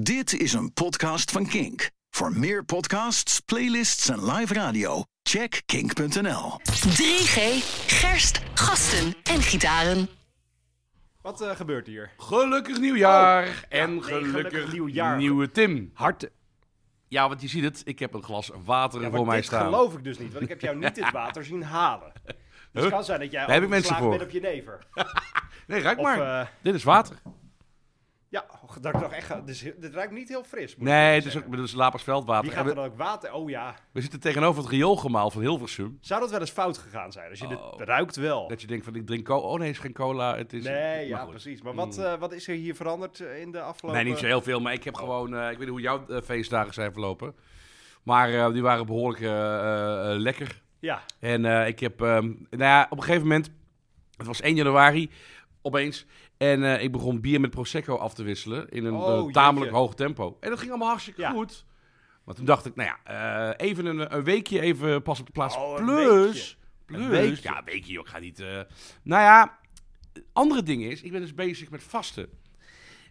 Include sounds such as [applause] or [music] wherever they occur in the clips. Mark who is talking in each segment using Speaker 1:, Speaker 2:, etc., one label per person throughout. Speaker 1: Dit is een podcast van Kink. Voor meer podcasts, playlists en live radio, check kink.nl.
Speaker 2: 3G, gerst, gasten en gitaren.
Speaker 3: Wat eh, gebeurt hier?
Speaker 4: Gelukkig nieuwjaar en
Speaker 3: nee,
Speaker 4: Oh, gelukkig,
Speaker 3: gelukkig nieuwjaar.
Speaker 4: nieuwe Tim.
Speaker 3: Hart.
Speaker 4: Ja, want je ziet het, ik heb een glas water voor
Speaker 3: dit
Speaker 4: mij staan.
Speaker 3: geloof ik dus niet, want ik heb jou niet dit water zien halen. Dus het
Speaker 4: Huh?
Speaker 3: kan zijn dat jij
Speaker 4: Daar heb ik mensen
Speaker 3: overgeslagen
Speaker 4: voor.
Speaker 3: bent op je never.
Speaker 4: Nee, ruik
Speaker 3: Of,
Speaker 4: maar.
Speaker 3: eh,
Speaker 4: Dit is water.
Speaker 3: Ja, och, dat ik nog echt... ga- Dit, is heel- dit ruikt niet heel fris. moet ik
Speaker 4: Nee,
Speaker 3: eerlijk
Speaker 4: het is, ook,
Speaker 3: zeggen.
Speaker 4: het is Lapersveldwater.
Speaker 3: Wie gaat
Speaker 4: En
Speaker 3: er
Speaker 4: we,
Speaker 3: dan ook water... Oh ja.
Speaker 4: we zitten tegenover het rioolgemaal van Hilversum.
Speaker 3: Zou dat wel eens fout gegaan zijn? Als je
Speaker 4: Oh.
Speaker 3: dit ruikt wel.
Speaker 4: Dat je denkt van, ik drink cola. Oh nee, het is geen cola. Het is, maar
Speaker 3: Nee, ja,
Speaker 4: goed. Hmm.
Speaker 3: precies. Maar wat, eh, wat is er hier veranderd eh, in de afgelopen...
Speaker 4: Nee, niet zo heel veel. Maar ik heb gewoon, eh, ik weet niet hoe jouw eh, feestdagen zijn verlopen. Maar eh, die waren behoorlijk eh, eh, eh, lekker.
Speaker 3: Ja,
Speaker 4: En eh, ik heb, ehm, nou ja, op een gegeven moment, het was 1 januari, opeens. En eh, ik begon bier met Prosecco af te wisselen in een
Speaker 3: Oh,
Speaker 4: eh, tamelijk
Speaker 3: jeetje.
Speaker 4: hoog tempo. En dat ging allemaal hartstikke
Speaker 3: Ja.
Speaker 4: goed. Maar toen dacht ik, nou ja, eh, even een, een weekje, even pas op de plaats.
Speaker 3: Oh, een
Speaker 4: plus, plus,
Speaker 3: Een weekje.
Speaker 4: ja, een weekje, joh, ik ga niet. eh, nou ja, het andere ding is, ik ben dus bezig met vasten.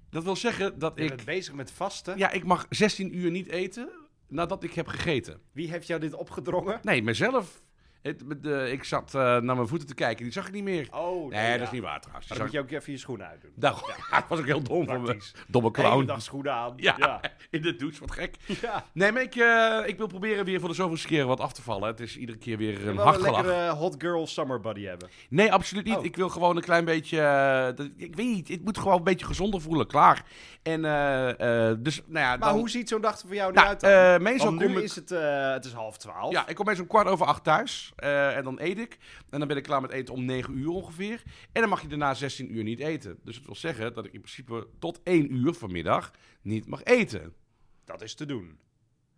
Speaker 4: Dat wil zeggen dat
Speaker 3: je
Speaker 4: ik,
Speaker 3: bent bezig met vasten.
Speaker 4: ja, ik mag 16 uur niet eten nadat ik heb gegeten.
Speaker 3: Wie heeft jou dit opgedrongen?
Speaker 4: Nee, mezelf. Het, met de- ik zat eh, naar mijn voeten te kijken, die zag ik niet meer.
Speaker 3: Oh,
Speaker 4: nee,
Speaker 3: ja.
Speaker 4: dat is niet waar trouwens.
Speaker 3: Maar dan
Speaker 4: Die
Speaker 3: moet
Speaker 4: zag-
Speaker 3: je ook even je schoenen uitdoen.
Speaker 4: Nou, dat [laughs] was ook heel dom van me.
Speaker 3: Praktisch.
Speaker 4: Domme
Speaker 3: De hele
Speaker 4: clown.
Speaker 3: dag schoenen aan.
Speaker 4: Ja,
Speaker 3: ja.
Speaker 4: [laughs] in de douche, wat gek.
Speaker 3: Ja.
Speaker 4: Nee, maar ik, eh, ik wil proberen weer voor de zoveelste keer wat af te vallen. Het is iedere keer weer een
Speaker 3: Wel een
Speaker 4: hartgelach.
Speaker 3: lekkere hot girl summer buddy hebben.
Speaker 4: Nee, absoluut niet.
Speaker 3: Oh.
Speaker 4: Ik wil gewoon een klein beetje... eh, dat- ik weet niet, het moet gewoon een beetje gezonder voelen. Klaar. En eh, eh, dus, nou ja...
Speaker 3: Maar
Speaker 4: dan-
Speaker 3: hoe ziet zo'n dag er voor jou nu
Speaker 4: Nou,
Speaker 3: uit dan?
Speaker 4: eh, meestal
Speaker 3: Want nu
Speaker 4: kom ik-
Speaker 3: is het, eh, het is half twaalf.
Speaker 4: Ja, ik kom meestal om kwart over acht thuis. eh, en dan eet ik. En dan ben ik klaar met eten om negen uur ongeveer. En dan mag je daarna 16 uur niet eten. Dus dat wil zeggen dat ik in principe tot één uur vanmiddag niet mag eten.
Speaker 3: Dat is te doen.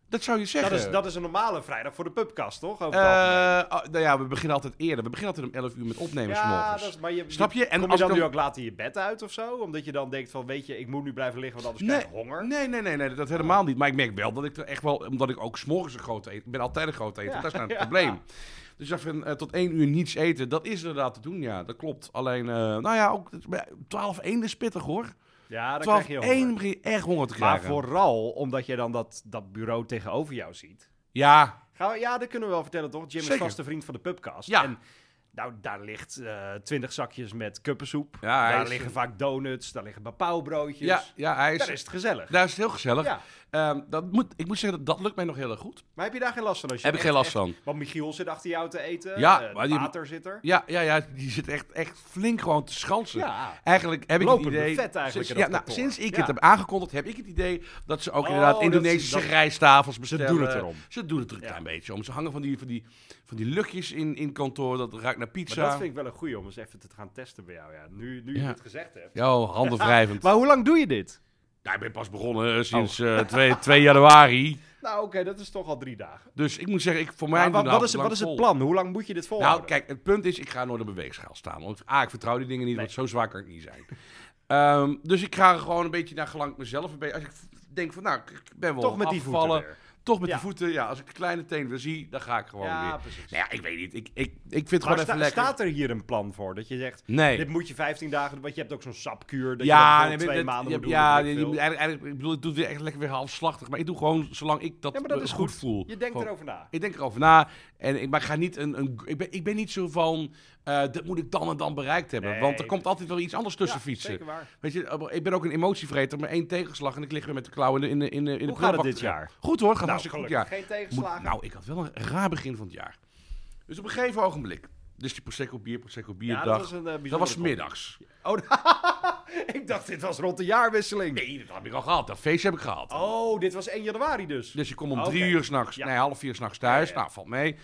Speaker 4: Dat zou je zeggen.
Speaker 3: Dat is, dat is een normale vrijdag voor de pubkast, toch? Over
Speaker 4: Eh,
Speaker 3: het algemeen.
Speaker 4: ah, nou ja, we beginnen altijd eerder. We beginnen altijd om 11 uur met opnemen
Speaker 3: ja,
Speaker 4: s'morgens.
Speaker 3: dat is, maar je,
Speaker 4: Snap je? En
Speaker 3: En kom je
Speaker 4: als
Speaker 3: dan
Speaker 4: ik
Speaker 3: nu
Speaker 4: dan-
Speaker 3: ook later je bed uit of zo? Omdat je dan denkt van, weet je, ik moet nu blijven liggen, want anders
Speaker 4: Nee,
Speaker 3: krijg ik honger. Oh.
Speaker 4: nee, nee, nee, nee, dat helemaal niet. Maar ik merk wel dat ik er echt wel, omdat ik ook s'morgens een groot eten, ik ben altijd een groot eten,
Speaker 3: Ja,
Speaker 4: dat is nou het
Speaker 3: [laughs] ja.
Speaker 4: probleem. Dus dat van eh, tot één uur niets eten, dat is inderdaad te doen, ja, dat klopt. Alleen, eh, nou ja, ook 12 1 is pittig hoor.
Speaker 3: Ja, Ah, dan
Speaker 4: 12
Speaker 3: krijg je honger.
Speaker 4: 1 begin je echt honger te
Speaker 3: Maar
Speaker 4: krijgen.
Speaker 3: vooral omdat je dan dat, dat bureau tegenover jou ziet.
Speaker 4: Ja,
Speaker 3: Gaan we, ja, dat kunnen we wel vertellen, toch? Jim is
Speaker 4: Zeker.
Speaker 3: vaste vriend van de pubcast.
Speaker 4: Ja.
Speaker 3: En nou, daar ligt twintig zakjes met kuppensoep.
Speaker 4: Ja, hij
Speaker 3: daar
Speaker 4: is- eh,
Speaker 3: liggen vaak donuts, daar liggen bapauwbroodjes.
Speaker 4: ja, ja, hij is,
Speaker 3: Daar is het gezellig.
Speaker 4: daar is het heel gezellig.
Speaker 3: Ja.
Speaker 4: Ehm, dat moet, ik moet zeggen, dat, dat lukt mij nog heel erg goed.
Speaker 3: Maar heb je daar geen last van? Als je
Speaker 4: Heb ik
Speaker 3: echt-
Speaker 4: geen last
Speaker 3: echt-
Speaker 4: van.
Speaker 3: Want Michiel zit achter jou te eten.
Speaker 4: Ja,
Speaker 3: eh,
Speaker 4: maar die-
Speaker 3: Pater zit er.
Speaker 4: Ja, ja, ja, die zit echt, echt flink gewoon te schansen.
Speaker 3: Ja.
Speaker 4: Eigenlijk heb ik
Speaker 3: Lopend
Speaker 4: het idee...
Speaker 3: buffet eigenlijk in
Speaker 4: sinds,
Speaker 3: dat
Speaker 4: ja, nou,
Speaker 3: kantoor.
Speaker 4: sinds ik
Speaker 3: Ja.
Speaker 4: het heb aangekondigd, heb ik het idee dat ze ook
Speaker 3: Oh,
Speaker 4: inderdaad
Speaker 3: dat
Speaker 4: Indonesische
Speaker 3: ze- dat-
Speaker 4: rijsttafels bestellen.
Speaker 3: doen het erom.
Speaker 4: Ze doen het er een
Speaker 3: Ja.
Speaker 4: klein beetje om. Ze hangen van die, van die, van die luchtjes in, in kantoor, dat ruikt naar
Speaker 3: Maar
Speaker 4: pizza.
Speaker 3: dat vind ik wel een goeie om eens even te gaan testen bij jou. Ja. Nu, nu je
Speaker 4: Ja.
Speaker 3: het gezegd hebt.
Speaker 4: Ja, handen wrijvend.
Speaker 3: Maar Oh. hoe lang doe je dit?
Speaker 4: Nou, ik ben pas begonnen eh, sinds eh, 2, 2 januari.
Speaker 3: Nou, oké, dat is toch al drie dagen.
Speaker 4: Dus ik moet zeggen, ik, voor mij...
Speaker 3: Maar
Speaker 4: doen
Speaker 3: wat,
Speaker 4: de
Speaker 3: wat, is,
Speaker 4: nou lang
Speaker 3: wat is het
Speaker 4: vol.
Speaker 3: plan? Hoe lang moet je dit volhouden?
Speaker 4: Nou, kijk, het punt is, ik ga nooit op een weegschaal staan. Want A, ik vertrouw die dingen niet,
Speaker 3: Nee.
Speaker 4: want zo zwaar kan ik niet zijn. Ehm, dus ik ga gewoon een beetje naar gelang mezelf. Een beetje, als ik v- denk van, nou, ik- ik ben wel
Speaker 3: toch met die voeten
Speaker 4: afgevallen.
Speaker 3: weer.
Speaker 4: Toch met
Speaker 3: Ja.
Speaker 4: die voeten, ja. Als ik de kleine teen weer zie, dan ga ik gewoon
Speaker 3: Ja,
Speaker 4: weer.
Speaker 3: precies.
Speaker 4: Nou ja, ik weet niet. Ik, ik, ik vind het
Speaker 3: Maar
Speaker 4: gewoon even
Speaker 3: sta-
Speaker 4: lekker.
Speaker 3: staat er hier een plan voor? Dat je zegt,
Speaker 4: Nee.
Speaker 3: dit moet je 15 dagen... Want je hebt ook zo'n sapkuur dat
Speaker 4: ja,
Speaker 3: je
Speaker 4: nee,
Speaker 3: dat twee
Speaker 4: dat-
Speaker 3: maanden
Speaker 4: ja,
Speaker 3: moet doen.
Speaker 4: ja,
Speaker 3: weet ik
Speaker 4: die- die-
Speaker 3: veel.
Speaker 4: eigenlijk, eigenlijk- ik bedoel, ik doe het weer echt lekker weer halfslachtig. Maar ik doe gewoon zolang ik dat,
Speaker 3: ja, maar dat
Speaker 4: eh,
Speaker 3: is
Speaker 4: goed
Speaker 3: goed.
Speaker 4: voel.
Speaker 3: Je denkt
Speaker 4: Gewoon-
Speaker 3: erover na.
Speaker 4: Ik denk erover na. En ik, maar ik, ga niet een, een, ik, ben, ik ben niet zo van. eh, dat moet ik dan en dan bereikt hebben.
Speaker 3: Nee,
Speaker 4: want er komt altijd wel iets anders tussen
Speaker 3: Ja,
Speaker 4: fietsen.
Speaker 3: Zeker waar.
Speaker 4: Weet je, eh, ik ben ook een emotievreter. Maar één tegenslag en ik lig weer met de klauwen in de, in de, in de, in
Speaker 3: Hoe
Speaker 4: de
Speaker 3: gaat het
Speaker 4: prullenbak
Speaker 3: dit
Speaker 4: te-
Speaker 3: jaar?
Speaker 4: Goed hoor, gaat
Speaker 3: Nou,
Speaker 4: hartstikke goed.
Speaker 3: gelukkig.
Speaker 4: Ja.
Speaker 3: Geen
Speaker 4: Moet-
Speaker 3: tegenslagen.
Speaker 4: nou, ik had wel een raar begin van het jaar. Dus op een gegeven ogenblik. Dus die Prosecco bier, Prosecco
Speaker 3: ja,
Speaker 4: bierdag.
Speaker 3: dat was een eh, bijzondere
Speaker 4: middags.
Speaker 3: combi. Oh, [laughs] Ik dacht, dit was rond de jaarwisseling.
Speaker 4: Nee, dat heb ik al gehad. Dat feest heb ik gehad.
Speaker 3: Oh, dit was 1 januari dus.
Speaker 4: Dus je komt om
Speaker 3: Oké.
Speaker 4: drie uur s'nachts,
Speaker 3: Ja.
Speaker 4: nee, half vier s'nachts thuis.
Speaker 3: Ja, ja.
Speaker 4: Nou, valt mee.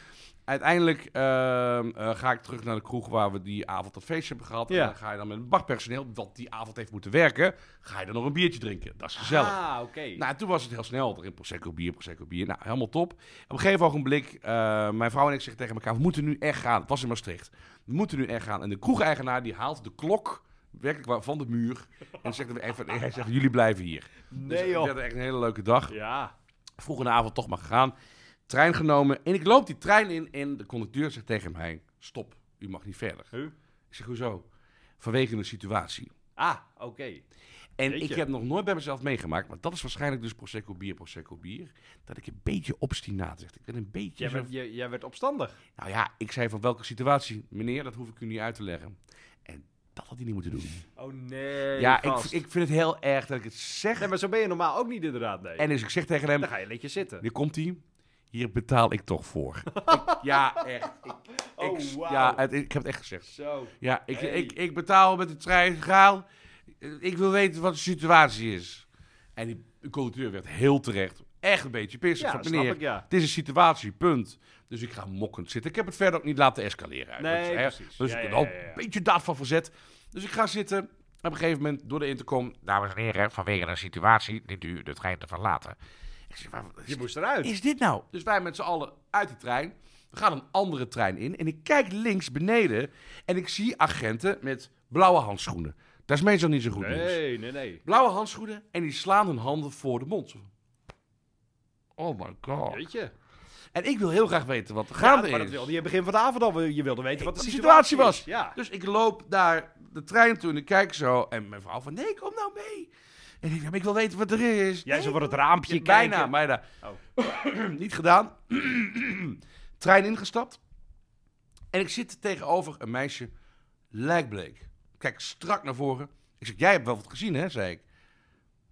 Speaker 4: Uiteindelijk ehm, eh, ga ik terug naar de kroeg waar we die avond dat feest hebben gehad.
Speaker 3: Ja.
Speaker 4: En dan ga je dan met het barpersoneel, dat die avond heeft moeten werken, ga je dan nog een biertje drinken. Dat is gezellig.
Speaker 3: Ah, oké.
Speaker 4: Nou, toen was het heel snel. Erin prosecco bier, prosecco bier. Nou, helemaal top. Op een gegeven ogenblik, eh, mijn vrouw en ik zeggen tegen elkaar, we moeten nu echt gaan. Het was in Maastricht. We moeten nu echt gaan. En de kroegeigenaar die haalt de klok werkelijk waar, van de muur. En zegt, even, hij zegt, jullie blijven hier.
Speaker 3: nee
Speaker 4: dus, we
Speaker 3: joh.
Speaker 4: hadden echt een hele leuke dag
Speaker 3: Ja.
Speaker 4: vroeg in de avond toch maar gegaan. Trein genomen. En ik loop die trein in en de conducteur zegt tegen mij... Stop, u mag niet verder.
Speaker 3: Huh?
Speaker 4: Ik zeg, hoezo? Vanwege de situatie.
Speaker 3: Ah, oké.
Speaker 4: En
Speaker 3: Jeetje.
Speaker 4: ik heb nog nooit bij mezelf meegemaakt, maar dat is waarschijnlijk dus Prosecco bier, Prosecco bier, dat ik een beetje obstinaat zeg. Ik ben een beetje...
Speaker 3: Jij
Speaker 4: zo-
Speaker 3: werd, jij, jij werd opstandig.
Speaker 4: Nou ja, ik zei van welke situatie, meneer, dat hoef ik u niet uit te leggen. En dat had hij niet moeten doen.
Speaker 3: Oh nee.
Speaker 4: ja, ik,
Speaker 3: gast.
Speaker 4: ik vind het heel erg dat ik het zeg.
Speaker 3: Nee, maar zo ben je normaal ook niet inderdaad, nee.
Speaker 4: En dus ik zeg tegen hem,
Speaker 3: Dan ga je netjes zitten.
Speaker 4: hier komt hij. Hier betaal ik toch
Speaker 3: [laughs]
Speaker 4: voor. Ik- ja, echt. Ik,
Speaker 3: Oh,
Speaker 4: ik-
Speaker 3: wauw.
Speaker 4: ja, het- ik heb het echt gezegd.
Speaker 3: Zo.
Speaker 4: Ja, ik,
Speaker 3: Hey.
Speaker 4: ik, ik betaal met de trein. Gaal. Ik wil weten wat de situatie is. En die conducteur werd heel terecht. Echt een beetje pissig.
Speaker 3: Ja,
Speaker 4: van,
Speaker 3: dat
Speaker 4: meneer,
Speaker 3: snap ik, ja.
Speaker 4: Het is een situatie, punt. Dus ik ga mokkend zitten. Ik heb het verder ook niet laten escaleren. uit.
Speaker 3: Nee,
Speaker 4: dus,
Speaker 3: precies.
Speaker 4: Dus
Speaker 3: Ja,
Speaker 4: ik
Speaker 3: ja,
Speaker 4: ben al
Speaker 3: ja, ja.
Speaker 4: een beetje daad van verzet. Dus ik ga zitten. Op een gegeven moment door de intercom. Dames en heren, vanwege de situatie dient u de trein te verlaten. Ik zeg, waar,
Speaker 3: Je moest eruit.
Speaker 4: is dit nou? Dus wij met z'n allen uit die trein. We gaan een andere trein in. En ik kijk links beneden. En ik zie agenten met blauwe handschoenen. Dat is meestal niet zo goed dus. nieuws.
Speaker 3: Nee, nee, nee.
Speaker 4: Blauwe handschoenen. En die slaan hun handen voor de mond. Oh my god.
Speaker 3: Weet je?
Speaker 4: En ik wil heel graag weten wat er
Speaker 3: Ja,
Speaker 4: gaande
Speaker 3: Ah, maar dat
Speaker 4: is.
Speaker 3: wilde je begin van de avond al. Je wilde weten wat de
Speaker 4: Wat
Speaker 3: situatie was.
Speaker 4: was.
Speaker 3: Ja.
Speaker 4: Dus ik loop naar de trein toe en ik kijk zo. En mijn vrouw van, nee, kom nou mee. En ik, ja, maar ik wil weten wat er is.
Speaker 3: Jij
Speaker 4: Nee,
Speaker 3: zo voor het raampje
Speaker 4: ja,
Speaker 3: kijken. Oh.
Speaker 4: bijna, bijna. [clears throat] Niet gedaan. Trein ingestapt. En ik zit tegenover een meisje, lijkbleek. Kijk strak naar voren. Ik zeg, jij hebt wel wat gezien, hè, zei ik.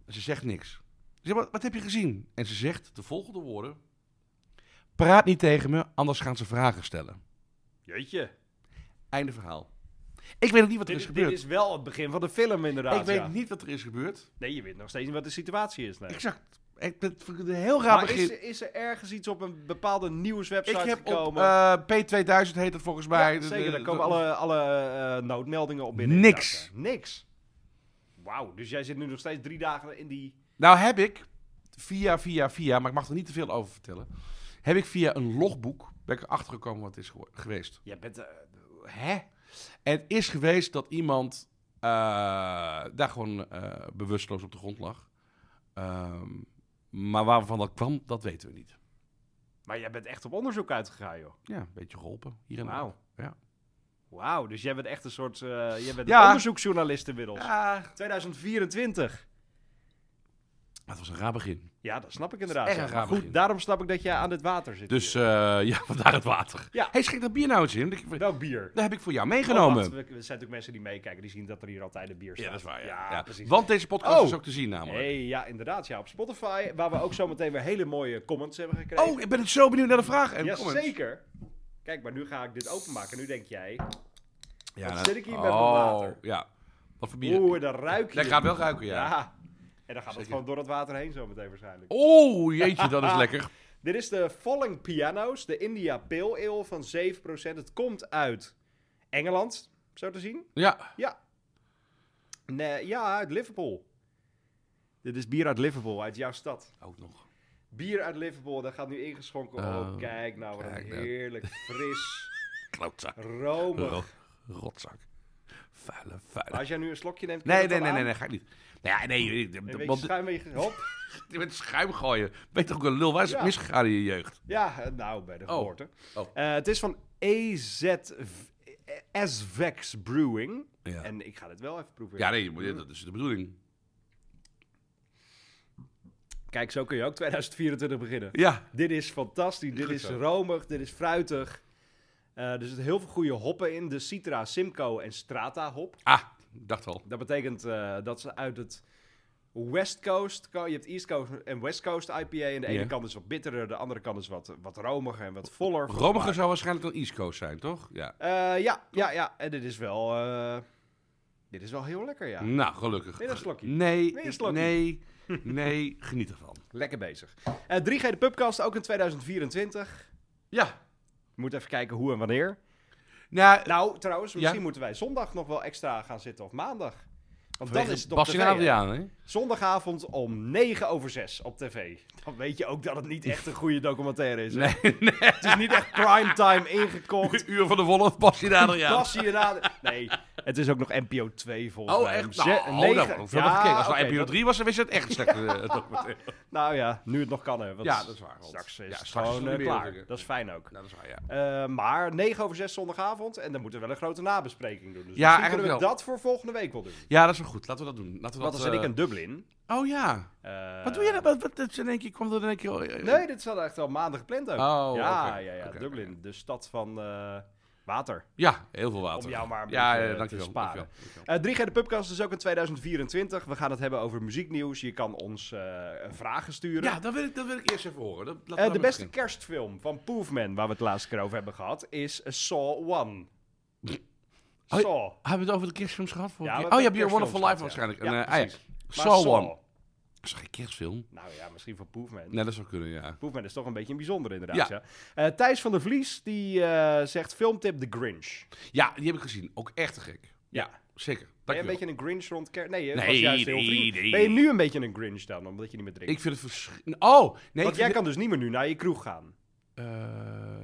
Speaker 4: En ze zegt niks. Ik zeg, wat, wat heb je gezien? En ze zegt de volgende woorden. Praat niet tegen me, anders gaan ze vragen stellen.
Speaker 3: Jeetje.
Speaker 4: Einde verhaal. Ik weet nog niet wat er is
Speaker 3: Dit, dit
Speaker 4: gebeurd.
Speaker 3: is wel het begin van de film inderdaad.
Speaker 4: ik weet
Speaker 3: ja.
Speaker 4: niet wat er is gebeurd.
Speaker 3: Nee, je weet nog steeds niet wat de situatie is. Nee.
Speaker 4: Exact. Ik ben vind ik een heel raar
Speaker 3: Maar is,
Speaker 4: begin.
Speaker 3: er- is er ergens iets op een bepaalde
Speaker 4: Ik
Speaker 3: nieuwswebsite
Speaker 4: heb op
Speaker 3: gekomen?
Speaker 4: eh, P2000 heet het volgens mij.
Speaker 3: Ja,
Speaker 4: De-
Speaker 3: zeker,
Speaker 4: de-
Speaker 3: daar komen
Speaker 4: de-
Speaker 3: alle, alle eh, noodmeldingen op binnen.
Speaker 4: Niks.
Speaker 3: inderdaad, ja. Niks. Wauw, dus jij zit nu nog steeds drie dagen in die...
Speaker 4: Nou heb ik, via, via, via, maar ik mag er niet te veel over vertellen. Heb ik via een logboek, ben ik erachter gekomen wat het is gewo- geweest.
Speaker 3: Jij bent... eh,
Speaker 4: Hè? En het is geweest dat iemand eh, daar gewoon eh, bewusteloos op de grond lag. Ehm, maar waarvan dat kwam, dat weten we niet.
Speaker 3: maar jij bent echt op onderzoek uitgegaan, joh.
Speaker 4: Ja, een beetje geholpen. Hier en daar.
Speaker 3: Wauw.
Speaker 4: Ja.
Speaker 3: Wauw, dus jij bent echt een soort... eh, jij bent
Speaker 4: Ja.
Speaker 3: een onderzoeksjournalist inmiddels.
Speaker 4: Ah,
Speaker 3: 2024.
Speaker 4: het was een raar begin.
Speaker 3: Ja, dat snap ik inderdaad.
Speaker 4: echt
Speaker 3: ja.
Speaker 4: een
Speaker 3: Maar
Speaker 4: raar
Speaker 3: Goed,
Speaker 4: begin.
Speaker 3: daarom snap ik dat jij aan het water zit.
Speaker 4: Dus
Speaker 3: hier.
Speaker 4: eh, [laughs] ja, vandaar het water.
Speaker 3: Ja.
Speaker 4: hey, schrik dat bier nou eens in. Dat
Speaker 3: Welk bier?
Speaker 4: heb ik voor jou
Speaker 3: Oh,
Speaker 4: meegenomen.
Speaker 3: wacht, we- er zijn natuurlijk mensen die meekijken, die zien dat er hier altijd een bier staat.
Speaker 4: ja, dat is waar. Ja.
Speaker 3: Ja,
Speaker 4: Ja.
Speaker 3: precies.
Speaker 4: Want deze podcast
Speaker 3: Oh.
Speaker 4: is ook te zien namelijk.
Speaker 3: Hey, ja, inderdaad. Ja, op Spotify, waar we ook zometeen weer hele mooie comments hebben gekregen.
Speaker 4: Oh, ik ben het zo benieuwd naar de vraag. En comments.
Speaker 3: Jazeker. Kijk, maar nu ga ik dit openmaken. Nu denk jij,
Speaker 4: Ja,
Speaker 3: Wat
Speaker 4: dat-
Speaker 3: zit ik hier met mijn
Speaker 4: Oh,
Speaker 3: water?
Speaker 4: ja. Wat voor bier?
Speaker 3: oeh, dan ruik je.
Speaker 4: dat
Speaker 3: het.
Speaker 4: gaat wel ruiken, ja.
Speaker 3: En dan gaat het
Speaker 4: Zeker.
Speaker 3: gewoon door het water heen zometeen waarschijnlijk.
Speaker 4: Oh, jeetje,
Speaker 3: [laughs]
Speaker 4: dat is lekker.
Speaker 3: Dit is de Falling Pianos, de India Pale Ale van 7%. Het komt uit Engeland, zo te zien.
Speaker 4: Ja.
Speaker 3: Ja. Nee, ja, uit Liverpool. Dit is bier uit Liverpool, uit jouw stad.
Speaker 4: Ook nog.
Speaker 3: Bier uit Liverpool, dat gaat nu ingeschonken. Oh,
Speaker 4: Oh,
Speaker 3: kijk nou, wat
Speaker 4: kijk
Speaker 3: een
Speaker 4: nou.
Speaker 3: heerlijk, fris,
Speaker 4: Klootzak.
Speaker 3: romig.
Speaker 4: Ro- rotzak. Vuile, vuile.
Speaker 3: Als jij nu een slokje neemt, kun je
Speaker 4: Nee,
Speaker 3: dat
Speaker 4: nee,
Speaker 3: wel
Speaker 4: nee,
Speaker 3: aan?
Speaker 4: nee, nee, ga ik niet. Nou ja, nee, nee,
Speaker 3: Een
Speaker 4: nee,
Speaker 3: beetje
Speaker 4: want
Speaker 3: schuim, een beetje-
Speaker 4: [laughs]
Speaker 3: hop.
Speaker 4: met schuim gooien. Weet toch ook een lul, waar is het
Speaker 3: Ja.
Speaker 4: misgegaan in je jeugd?
Speaker 3: Ja, eh, nou, bij de
Speaker 4: Oh.
Speaker 3: geboorte.
Speaker 4: Oh.
Speaker 3: Eh, het is van EZ... E SVEX Brewing.
Speaker 4: Ja.
Speaker 3: En ik ga dit wel even proeven. Mm.
Speaker 4: Ja, nee, je moet- dat is de bedoeling.
Speaker 3: Kijk, zo kun je ook 2024 beginnen.
Speaker 4: Ja.
Speaker 3: Dit is fantastisch. Dit
Speaker 4: Goed
Speaker 3: is
Speaker 4: zo.
Speaker 3: romig. Dit is fruitig. Eh, er zitten heel veel goede hoppen in. De Citra, Simcoe en Strata hop.
Speaker 4: Ah, ik dacht al.
Speaker 3: Dat betekent eh, dat ze uit het West Coast... ko- Je hebt East Coast en West Coast IPA. En de ene
Speaker 4: Ja.
Speaker 3: kant is wat bitterder. De andere kant is wat, wat romiger en wat voller.
Speaker 4: Romiger zou waarschijnlijk een East Coast zijn, toch? Ja.
Speaker 3: Eh, ja, ja, ja. En dit is wel... eh, dit is wel heel lekker, ja.
Speaker 4: Nou, gelukkig.
Speaker 3: Weer een slokje.
Speaker 4: Nee,
Speaker 3: Weer een
Speaker 4: ik-
Speaker 3: slokje.
Speaker 4: [laughs] nee, nee, geniet ervan.
Speaker 3: Lekker bezig. Eh 3G de Pubcast, ook in 2024.
Speaker 4: Ja.
Speaker 3: Moet even kijken hoe en wanneer.
Speaker 4: Nou,
Speaker 3: Nou, trouwens, misschien
Speaker 4: Ja?
Speaker 3: moeten wij zondag nog wel extra gaan zitten. Of maandag. Want
Speaker 4: Vanwege
Speaker 3: dan is het op
Speaker 4: Bas
Speaker 3: tv.
Speaker 4: en
Speaker 3: hè?
Speaker 4: Adriaan, hè?
Speaker 3: Zondagavond om 9 over 6 op tv. Dan weet je ook dat het niet echt een goede documentaire is. hè?
Speaker 4: Nee, [laughs] nee.
Speaker 3: Het is niet echt primetime ingekocht.
Speaker 4: [laughs] Het uur van de wolf, Bas en Adriaan.
Speaker 3: Pas hier Nee, het is ook nog NPO 2 volgens
Speaker 4: Oh,
Speaker 3: mij.
Speaker 4: echt?
Speaker 3: Ze-
Speaker 4: Nou,
Speaker 3: negen-
Speaker 4: dat wordt wel
Speaker 3: Ja,
Speaker 4: gekeken. Als het nou
Speaker 3: oké,
Speaker 4: NPO
Speaker 3: dat-
Speaker 4: 3 was, dan wist je het echt [laughs] slecht. eh, documentaire.
Speaker 3: Nou ja, nu het nog kan hè. want
Speaker 4: Ja, dat is waar, want-
Speaker 3: Straks is
Speaker 4: ja,
Speaker 3: het
Speaker 4: straks is
Speaker 3: gewoon
Speaker 4: het
Speaker 3: eh,
Speaker 4: weer
Speaker 3: klaar.
Speaker 4: natuurlijk.
Speaker 3: Dat is fijn ook.
Speaker 4: Nou, dat is waar, ja.
Speaker 3: Eh, maar 9 over 6 zondagavond. En dan moeten we wel een grote nabespreking doen. Dus
Speaker 4: Ja,
Speaker 3: misschien kunnen we
Speaker 4: eigenlijk wel.
Speaker 3: dat voor volgende week wel doen.
Speaker 4: Ja, dat is een goed, laten we dat doen. Laten
Speaker 3: Want
Speaker 4: we dat,
Speaker 3: dan zit ik
Speaker 4: eh,
Speaker 3: in Dublin.
Speaker 4: Oh ja.
Speaker 3: Eh,
Speaker 4: Wat doe je nou? Wat, wat, dat je in één keer kwam er in één keer... eh,
Speaker 3: Nee, dit zat echt al maanden gepland ook.
Speaker 4: Oh,
Speaker 3: ja, ja,
Speaker 4: oké,
Speaker 3: ja,
Speaker 4: oké,
Speaker 3: Dublin, de stad van eh, water.
Speaker 4: Ja, heel veel water.
Speaker 3: Om jou maar een
Speaker 4: ja,
Speaker 3: beetje
Speaker 4: ja,
Speaker 3: te
Speaker 4: dankjewel,
Speaker 3: sparen.
Speaker 4: dankjewel, dankjewel.
Speaker 3: Eh 3G de Pubcast is ook in 2024. We gaan het hebben over muzieknieuws. Je kan ons eh, vragen sturen.
Speaker 4: Ja, dat wil, ik, dat wil ik eerst even horen. Dat, laten we
Speaker 3: Eh,
Speaker 4: daarmee
Speaker 3: de beste
Speaker 4: beginnen.
Speaker 3: kerstfilm van Poofman, waar we het laatst keer over hebben gehad, is Saw 1.
Speaker 4: Hoi.
Speaker 3: Saw.
Speaker 4: Hebben we het over de kerstfilms gehad? vorige
Speaker 3: Ja,
Speaker 4: keer?
Speaker 3: we
Speaker 4: oh ja,
Speaker 3: hebben
Speaker 4: Be a Wonderful Life
Speaker 3: kerstfilms gehad,
Speaker 4: waarschijnlijk.
Speaker 3: ja.
Speaker 4: En,
Speaker 3: Ja,
Speaker 4: eh, ah, ja.
Speaker 3: precies. Maar
Speaker 4: Saw One. Dat is geen kerstfilm.
Speaker 3: Nou ja, misschien van Poofman.
Speaker 4: Nee, dat zou kunnen, ja.
Speaker 3: Poofman is toch een beetje een bijzonder inderdaad.
Speaker 4: Ja.
Speaker 3: Ja. Eh, Thijs van der Vlies die eh, zegt filmtip The Grinch.
Speaker 4: Ja, die heb ik gezien. Ook echt te gek.
Speaker 3: Ja.
Speaker 4: Zeker.
Speaker 3: Ben je een
Speaker 4: Dankjewel.
Speaker 3: beetje een Grinch rond kerst? Nee, je
Speaker 4: Nee,
Speaker 3: was juist heel
Speaker 4: nee,
Speaker 3: vriendelijk.
Speaker 4: nee.
Speaker 3: Ben je nu een beetje een Grinch dan, omdat je niet meer drinkt?
Speaker 4: Ik vind het verschrikkelijk. Oh, nee.
Speaker 3: Want
Speaker 4: ik
Speaker 3: jij
Speaker 4: vind
Speaker 3: kan dus niet meer nu naar je kroeg gaan.
Speaker 4: het- eh,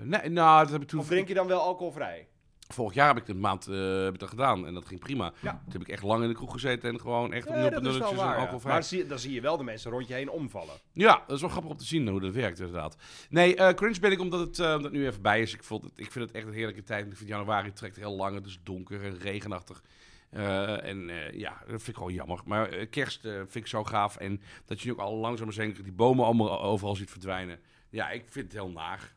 Speaker 4: nee, nou, dat heb ik toen...
Speaker 3: Of drink je dan wel alcoholvrij?
Speaker 4: Vorig jaar heb ik een maand eh, heb ik dat gedaan en dat ging prima.
Speaker 3: Ja.
Speaker 4: Toen heb ik echt lang in de kroeg gezeten en gewoon echt
Speaker 3: Nee,
Speaker 4: opnieuw op nulletjes en
Speaker 3: ja.
Speaker 4: alcoholvrij.
Speaker 3: Maar zie, dan zie je wel de mensen rond je heen omvallen.
Speaker 4: Ja, dat is wel grappig om te zien hoe dat werkt inderdaad. Nee, eh cringe ben ik omdat het eh, omdat het nu even bij is. Ik, vond het, ik vind het echt een heerlijke tijd. Ik vind januari trekt heel lang. Het is donker en regenachtig. Eh, en eh, ja, dat vind ik gewoon jammer. Maar eh, kerst eh, vind ik zo gaaf. En dat je nu ook al langzaam maar zeker die bomen allemaal overal ziet verdwijnen. Ja, ik vind het heel naar.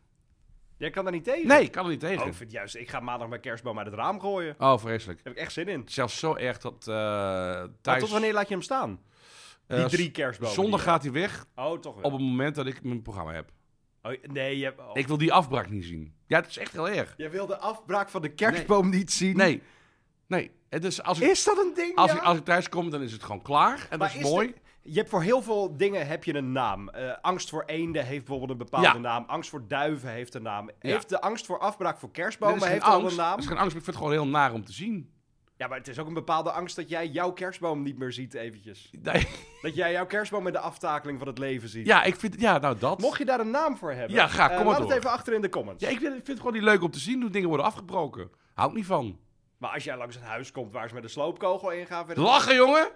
Speaker 3: Jij kan daar niet tegen.
Speaker 4: Nee, ik kan er niet tegen.
Speaker 3: Oh, ik vind juist, ik ga maandag mijn kerstboom uit het raam gooien. Daar
Speaker 4: Oh, vreselijk.
Speaker 3: heb ik echt zin in.
Speaker 4: Zelfs zo erg dat eh
Speaker 3: Maar
Speaker 4: thuis...
Speaker 3: tot wanneer laat je hem staan? Die
Speaker 4: eh,
Speaker 3: drie kerstbomen.
Speaker 4: Zondag
Speaker 3: die je-
Speaker 4: gaat hij weg
Speaker 3: Oh, toch wel.
Speaker 4: op het moment dat ik mijn programma heb.
Speaker 3: Oh, nee, je, hebt- oh.
Speaker 4: Ik wil die afbraak niet zien. Ja, het is echt heel erg.
Speaker 3: Jij wil de afbraak van de kerstboom niet zien?
Speaker 4: Nee. Nee. Het is, als, ik,
Speaker 3: Is dat een ding,
Speaker 4: als,
Speaker 3: ja?
Speaker 4: ik, als ik thuis kom, dan is het gewoon klaar. En
Speaker 3: Maar
Speaker 4: dat is,
Speaker 3: is
Speaker 4: mooi.
Speaker 3: de- je hebt voor heel veel dingen heb je een naam. Eh, angst voor eenden heeft bijvoorbeeld een bepaalde
Speaker 4: Ja.
Speaker 3: naam. Angst voor duiven heeft een naam. Heeft de angst voor afbraak voor
Speaker 4: Dit is
Speaker 3: kerstbomen
Speaker 4: geen
Speaker 3: heeft al
Speaker 4: angst.
Speaker 3: een naam?
Speaker 4: Dat is geen angst, maar ik vind het gewoon heel naar om te zien.
Speaker 3: Ja, maar het is ook een bepaalde angst dat jij jouw kerstboom niet meer ziet eventjes.
Speaker 4: Nee. [laughs]
Speaker 3: Dat jij jouw kerstboom met de aftakeling van het leven ziet.
Speaker 4: Ja, ik vind... Ja, nou dat.
Speaker 3: Mocht je daar een naam voor hebben,
Speaker 4: Ja, ga,
Speaker 3: eh,
Speaker 4: kom maar
Speaker 3: laat het
Speaker 4: door.
Speaker 3: even achter in de comments.
Speaker 4: Ja, ik vind, ik vind het gewoon niet leuk om te zien hoe dingen worden afgebroken. Hou ik niet van.
Speaker 3: Maar als jij langs een huis komt waar ze met een sloopkogel in gaan... verder-
Speaker 4: Lachen, jongen!
Speaker 3: en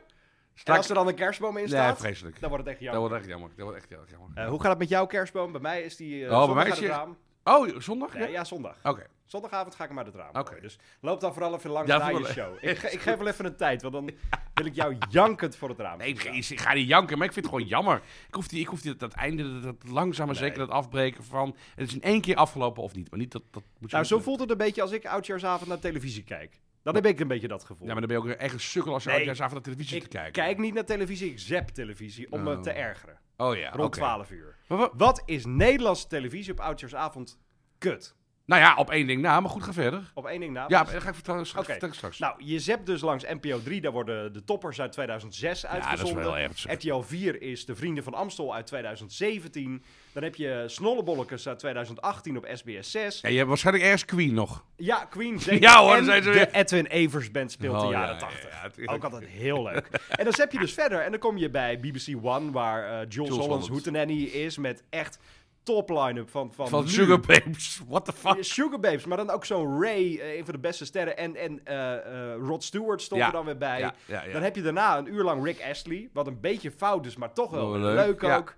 Speaker 4: Sta
Speaker 3: als er dan een kerstboom in
Speaker 4: Nee,
Speaker 3: staat,
Speaker 4: vreselijk.
Speaker 3: dan wordt het echt
Speaker 4: Dat
Speaker 3: jammer.
Speaker 4: wordt echt jammer. Dat wordt echt heel erg jammer.
Speaker 3: Eh, hoe gaat het met jouw kerstboom? Bij mij is die eh,
Speaker 4: bij
Speaker 3: zondag
Speaker 4: mij is
Speaker 3: uit het
Speaker 4: die-
Speaker 3: raam.
Speaker 4: Oh, zondag?
Speaker 3: Nee,
Speaker 4: ja?
Speaker 3: ja, zondag.
Speaker 4: Oké.
Speaker 3: Zondagavond ga ik hem uit het raam.
Speaker 4: Oké.
Speaker 3: gooien. Dus loop dan vooral even langs
Speaker 4: Ja,
Speaker 3: na je
Speaker 4: vooral-
Speaker 3: show.
Speaker 4: [laughs]
Speaker 3: Ik, ge- ik geef wel even een tijd, want dan wil ik jou jankend voor het raam.
Speaker 4: Nee,
Speaker 3: zien
Speaker 4: ik,
Speaker 3: staan.
Speaker 4: ik- ik ga niet janken, maar ik vind het gewoon jammer. Ik hoef die, ik hoef die, dat einde, dat, dat langzaam maar zeker dat afbreken van... Het is in één keer afgelopen of niet, maar niet dat... dat moet
Speaker 3: Nou, zo
Speaker 4: moeten.
Speaker 3: voelt het een beetje als ik oudjaarsavond naar televisie kijk. Dan heb ik een beetje dat gevoel.
Speaker 4: Ja, maar dan ben je ook echt een sukkel als je
Speaker 3: Nee,
Speaker 4: oudjaarsavond naar televisie
Speaker 3: ik
Speaker 4: te kijken.
Speaker 3: kijk niet naar televisie, ik zap televisie om me
Speaker 4: Oh.
Speaker 3: te ergeren.
Speaker 4: Oh ja,
Speaker 3: Rond
Speaker 4: oké.
Speaker 3: 12 uur.
Speaker 4: Maar wa-
Speaker 3: Wat is Nederlandse televisie op oudjaarsavond kut?
Speaker 4: nou ja, op één ding na, maar goed, ga verder.
Speaker 3: Op één ding na.
Speaker 4: Ja, maar dat ga ik vertellen straks.
Speaker 3: Oké.
Speaker 4: vertel ik straks.
Speaker 3: Nou, je zapt dus langs NPO 3, daar worden de toppers uit 2006 uitgezonden.
Speaker 4: wel erg, zeg.
Speaker 3: RTL 4 is de Vrienden van Amstel uit 2017. Dan heb je Snollebollekes uit 2018 op SBS 6.
Speaker 4: Ja, je hebt waarschijnlijk ergens Queen nog.
Speaker 3: Ja,
Speaker 4: [laughs]
Speaker 3: Queen zeker.
Speaker 4: Ja hoor,
Speaker 3: en
Speaker 4: zijn ze
Speaker 3: de
Speaker 4: weer.
Speaker 3: Edwin Evers Band speelt de
Speaker 4: Oh, ja,
Speaker 3: jaren
Speaker 4: ja,
Speaker 3: 80.
Speaker 4: ja, tuurlijk.
Speaker 3: Ook altijd heel leuk. en dan zet je dus verder en dan kom je bij BBC One, waar eh Jules, Hollands
Speaker 4: Holland.
Speaker 3: Hootenanny is met echt top line-up van, van,
Speaker 4: Van
Speaker 3: nu.
Speaker 4: Sugar Babes. [laughs] What the fuck?
Speaker 3: Eh, Sugar Babes, maar dan ook zo'n Ray, eh, een van de beste sterren. En, en eh, eh, Rod Stewart stond
Speaker 4: Ja,
Speaker 3: er dan weer bij.
Speaker 4: ja, ja, ja.
Speaker 3: Dan heb je daarna een uur lang Rick Astley. Wat een beetje fout is, maar toch wel
Speaker 4: Wel
Speaker 3: leuk,
Speaker 4: leuk, ja.
Speaker 3: ook.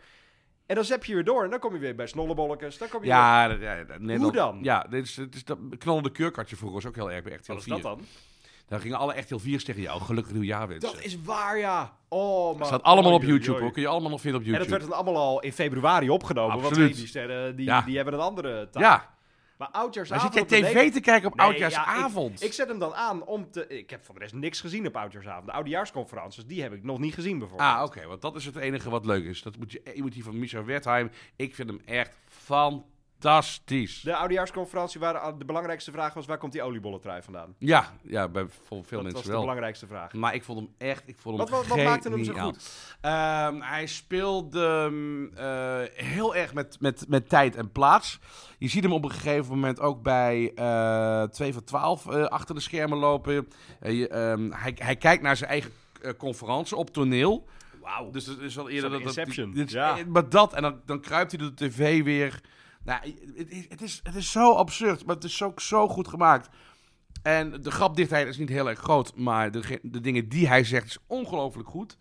Speaker 3: En dan zet je weer door en dan kom je weer bij Snollebollekes. Dan kom je weer...
Speaker 4: Ja, dat- ja, dat- net
Speaker 3: Hoe
Speaker 4: dat-
Speaker 3: dan?
Speaker 4: Ja, dit is, dit is dat knallende kurk had je vroeger was ook heel erg bij RTL 4.
Speaker 3: Wat is dat dan?
Speaker 4: Daar gingen alle RTL 4's tegen jou. Gelukkig nieuwjaar wensen.
Speaker 3: Dat is waar, ja. Oh, man.
Speaker 4: staat allemaal op
Speaker 3: Oei, oei,
Speaker 4: YouTube
Speaker 3: oei.
Speaker 4: hoor. Kun je allemaal nog vinden op
Speaker 3: En
Speaker 4: YouTube.
Speaker 3: dat werd dan allemaal al in februari opgenomen. Want
Speaker 4: Absoluut.
Speaker 3: hey, die sterren die,
Speaker 4: Ja.
Speaker 3: die hebben een andere taal.
Speaker 4: ja,
Speaker 3: Maar
Speaker 4: dan
Speaker 3: oudjaarsavond...
Speaker 4: zit jij
Speaker 3: op de
Speaker 4: tv
Speaker 3: Nederland-
Speaker 4: te kijken op
Speaker 3: Nee,
Speaker 4: oudjaarsavond.
Speaker 3: Ja, ik, ik zet hem dan aan om te... Ik heb voor de rest niks gezien op oudjaarsavond. De oudejaarsconferences, die heb ik nog niet gezien bijvoorbeeld.
Speaker 4: Ah, oké, want dat is het enige wat leuk is. Dat moet je, je moet die van Micha Wertheim. Ik vind hem echt fantastisch.
Speaker 3: De oudejaarsconferentie waar ah, de belangrijkste vraag was... waar komt die oliebollentrui vandaan?
Speaker 4: Ja, ja, bij voor
Speaker 3: dat was
Speaker 4: veel mensen
Speaker 3: de
Speaker 4: wel.
Speaker 3: belangrijkste vraag.
Speaker 4: Maar ik vond hem echt, ik vond hem
Speaker 3: Wat- wat- wat maakte hem zo
Speaker 4: geniaal.
Speaker 3: goed?
Speaker 4: Ehm, hij speelde mm, eh, heel erg met, met, met tijd en plaats. Je ziet hem op een gegeven moment ook bij eh 2 van 12 eh, achter de schermen lopen. Eh, je, ehm, hij, hij kijkt naar zijn eigen eh, conferentie op toneel.
Speaker 3: Wauw.
Speaker 4: Dus het is wel eerder
Speaker 3: Zo'n
Speaker 4: dat... dat-
Speaker 3: Inception,
Speaker 4: dit is-
Speaker 3: ja.
Speaker 4: eh, Maar dat, en dan, dan kruipt hij door de tv weer... Nou, het, is, het, is, het is zo absurd, maar het is ook zo goed gemaakt. En de grapdichtheid is niet heel erg groot, maar de, ge- de dingen die hij zegt is ongelooflijk goed.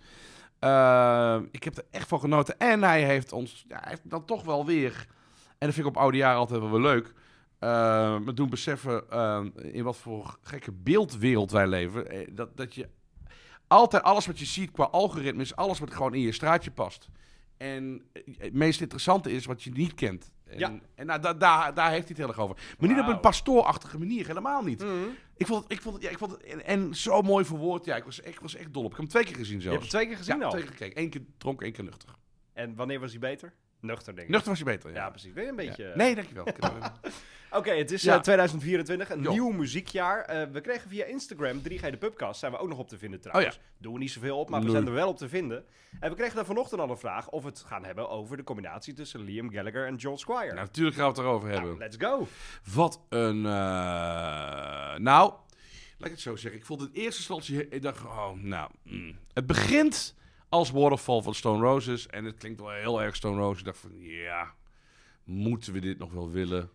Speaker 4: Eh, ik heb er echt van genoten. En hij heeft ons ja, hij heeft dan toch wel weer... En dat vind ik op oude jaren altijd wel weer leuk. eh, me doen beseffen eh, in wat voor gekke beeldwereld wij leven. Eh, dat, dat je Altijd alles wat je ziet qua algoritmes, alles wat gewoon in je straatje past. En eh, het meest interessante is wat je niet kent. En,
Speaker 3: Ja.
Speaker 4: en nou, da- daar, daar heeft hij het heel erg over. Maar niet op
Speaker 3: Wauw. Mhm.
Speaker 4: een pastoorachtige manier, helemaal niet. Ik vond het, ik vond het, ja, ik vond het en, en zo mooi verwoord. Ja, ik was, ik was echt dol op. Ik heb hem twee keer gezien
Speaker 3: Je
Speaker 4: zelfs.
Speaker 3: hebt het twee keer gezien
Speaker 4: ja,
Speaker 3: al.
Speaker 4: twee keer gekeken. Eén keer dronken, één keer nuchter.
Speaker 3: En wanneer was hij beter? Nuchter, denk ik.
Speaker 4: Nuchter was je beter.
Speaker 3: Ja, precies. Weer een beetje... eh,
Speaker 4: Ja. Nee, dankjewel. Ik heb-
Speaker 3: Oké, het is
Speaker 4: Ja.
Speaker 3: eh, 2024, een
Speaker 4: Jo.
Speaker 3: nieuw muziekjaar. Eh, we kregen via Instagram 3G de Pubcast, zijn we ook nog op te vinden
Speaker 4: Oh
Speaker 3: trouwens. Doen we niet zoveel op, maar we
Speaker 4: Nee.
Speaker 3: zijn er wel op te vinden. En we kregen daar vanochtend al een vraag of we het gaan hebben over de combinatie tussen Liam Gallagher en John Squire.
Speaker 4: Ja, natuurlijk gaan we het erover hebben.
Speaker 3: Nou, let's go.
Speaker 4: Wat een. eh, nou, laat ik het zo zeggen. Ik vond het eerste slotje. Ik dacht, oh, nou. mm. Het begint als Waterfall van Stone Roses. En het klinkt wel heel erg Stone Roses. Ik dacht van, ja. Moeten we dit nog wel willen?